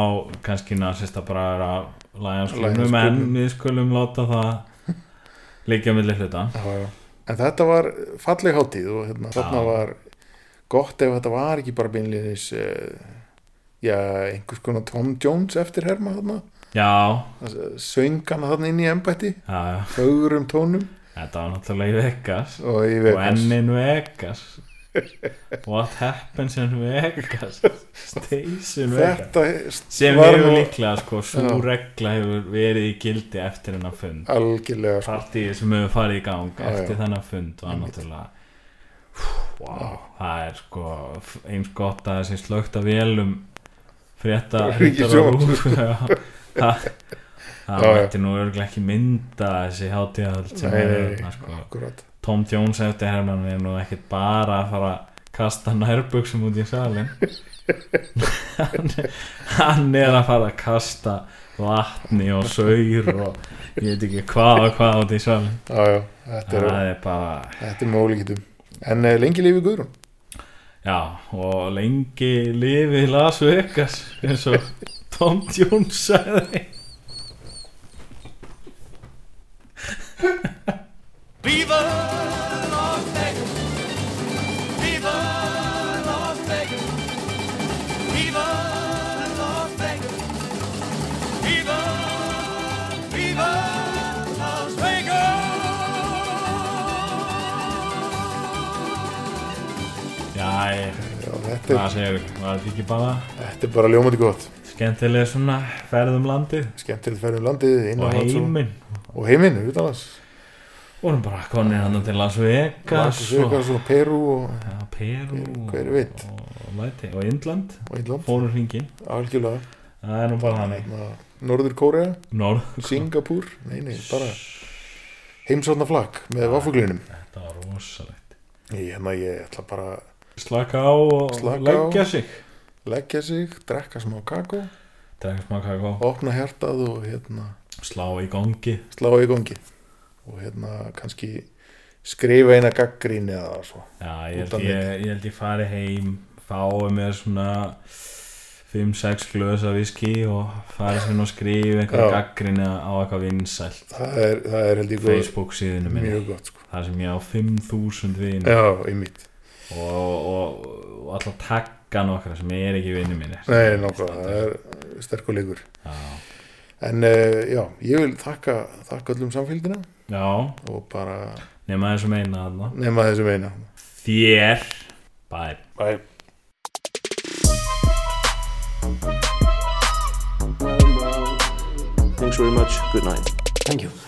kannski nasista bara er að Lions klubnum en
klúbbnum.
við skulum láta það líka millir hluta
já, já, en þetta var falleg hátíð og hérna, þarna var gott ef þetta var ekki bara beinliðis, uh, já, einhvers konar Tom Jones eftir herma þarna,
Já,
söng hann þarna inn í embætti,
já, já,
fögurum tónum
þetta var náttúrulega í Vegas
og í
og
Vegas.
enn in Vegas What happens in Vegas Stays in Vegas
Þetta
sem
var
hefur
nú-
líklega sko, svo regla hefur verið í gildi eftir hennar fund
algjörlega sko.
partíið sem hefur farið í gang
Já,
eftir
já.
þennan fund var náttúrulega wow, það er sko eins gott að þessi slögt að vélum
[laughs]
frétta
Ríkissjónvarpsins.
[laughs] það,
[laughs]
það, það
Já, já.
mætti nú örglega ekki mynda þessi hátíðahald sem
Nei,
er
nei, nei,
þarna, sko.
akkurat
Tom Jones eftir herrmann er nú ekkit bara að fara að kasta nærbuksum út í salin [laughs] hann, hann er að fara að kasta vatni og saur og ég veit ekki hvað og hvað út í salin
já, já, þetta er,
það er bara
þetta er með ólíkitum en eh, lengi lífi Guðrún
Já, og lengi lifi Las Vegas eins og Tom Jones sagði Já, ég,
já, þetta,
hvað
er,
segir, var þetta ekki bara
þetta er bara ljómandi gott
skemmtilega svona ferðum landið
skemmtilegt ferðum landið
og
innanlands
heiminn
og heiminn utanlands
vorum bara konir hann til Las Vegas
Las
og
Vegas og Peru og,
ja, Peru og,
hver veit.
og, læti, og Indland
og Ídland
fórum hringin
algjörlega
það er nú bara hann
Na- Norður Kórea,
Norð
Singapúr nei, nei, bara heimsotna flakk
Ah.
með vaffuglinum
þetta var rosalegt
ég, hérna, ég ætla bara að
slaka á og
Slaka á.
leggja sig
leggja sig, drekka smá kakó
drekka smá kakó
opna hjartað og hérna,
slá í gangi
slá í gangi og hérna kannski skrifa eina gaggrín eða svo
já, ég,
Út af
held ég, ég held ég fari heim fái mér svona 5-6 glösa viski og fari sem og skrifa
Já.
einhver gaggrinni á eitthvað vinsælt
það er, það er held ég góð,
Facebook síðinu minni
mjög gott sko.
þar sem ég á 5.000 vini
já, einmitt
og, og, og alltaf takka nokkra sem er ekki vini mínir
nei, nákvæmlega, það er sterkur leikur
já,
en uh, já, ég vil þakka þakka öllum samfélgina
já
og bara
nema þessum eina þarna
nema þessum eina
þér bye
bye
Thanks very much. Good night.
Thank you.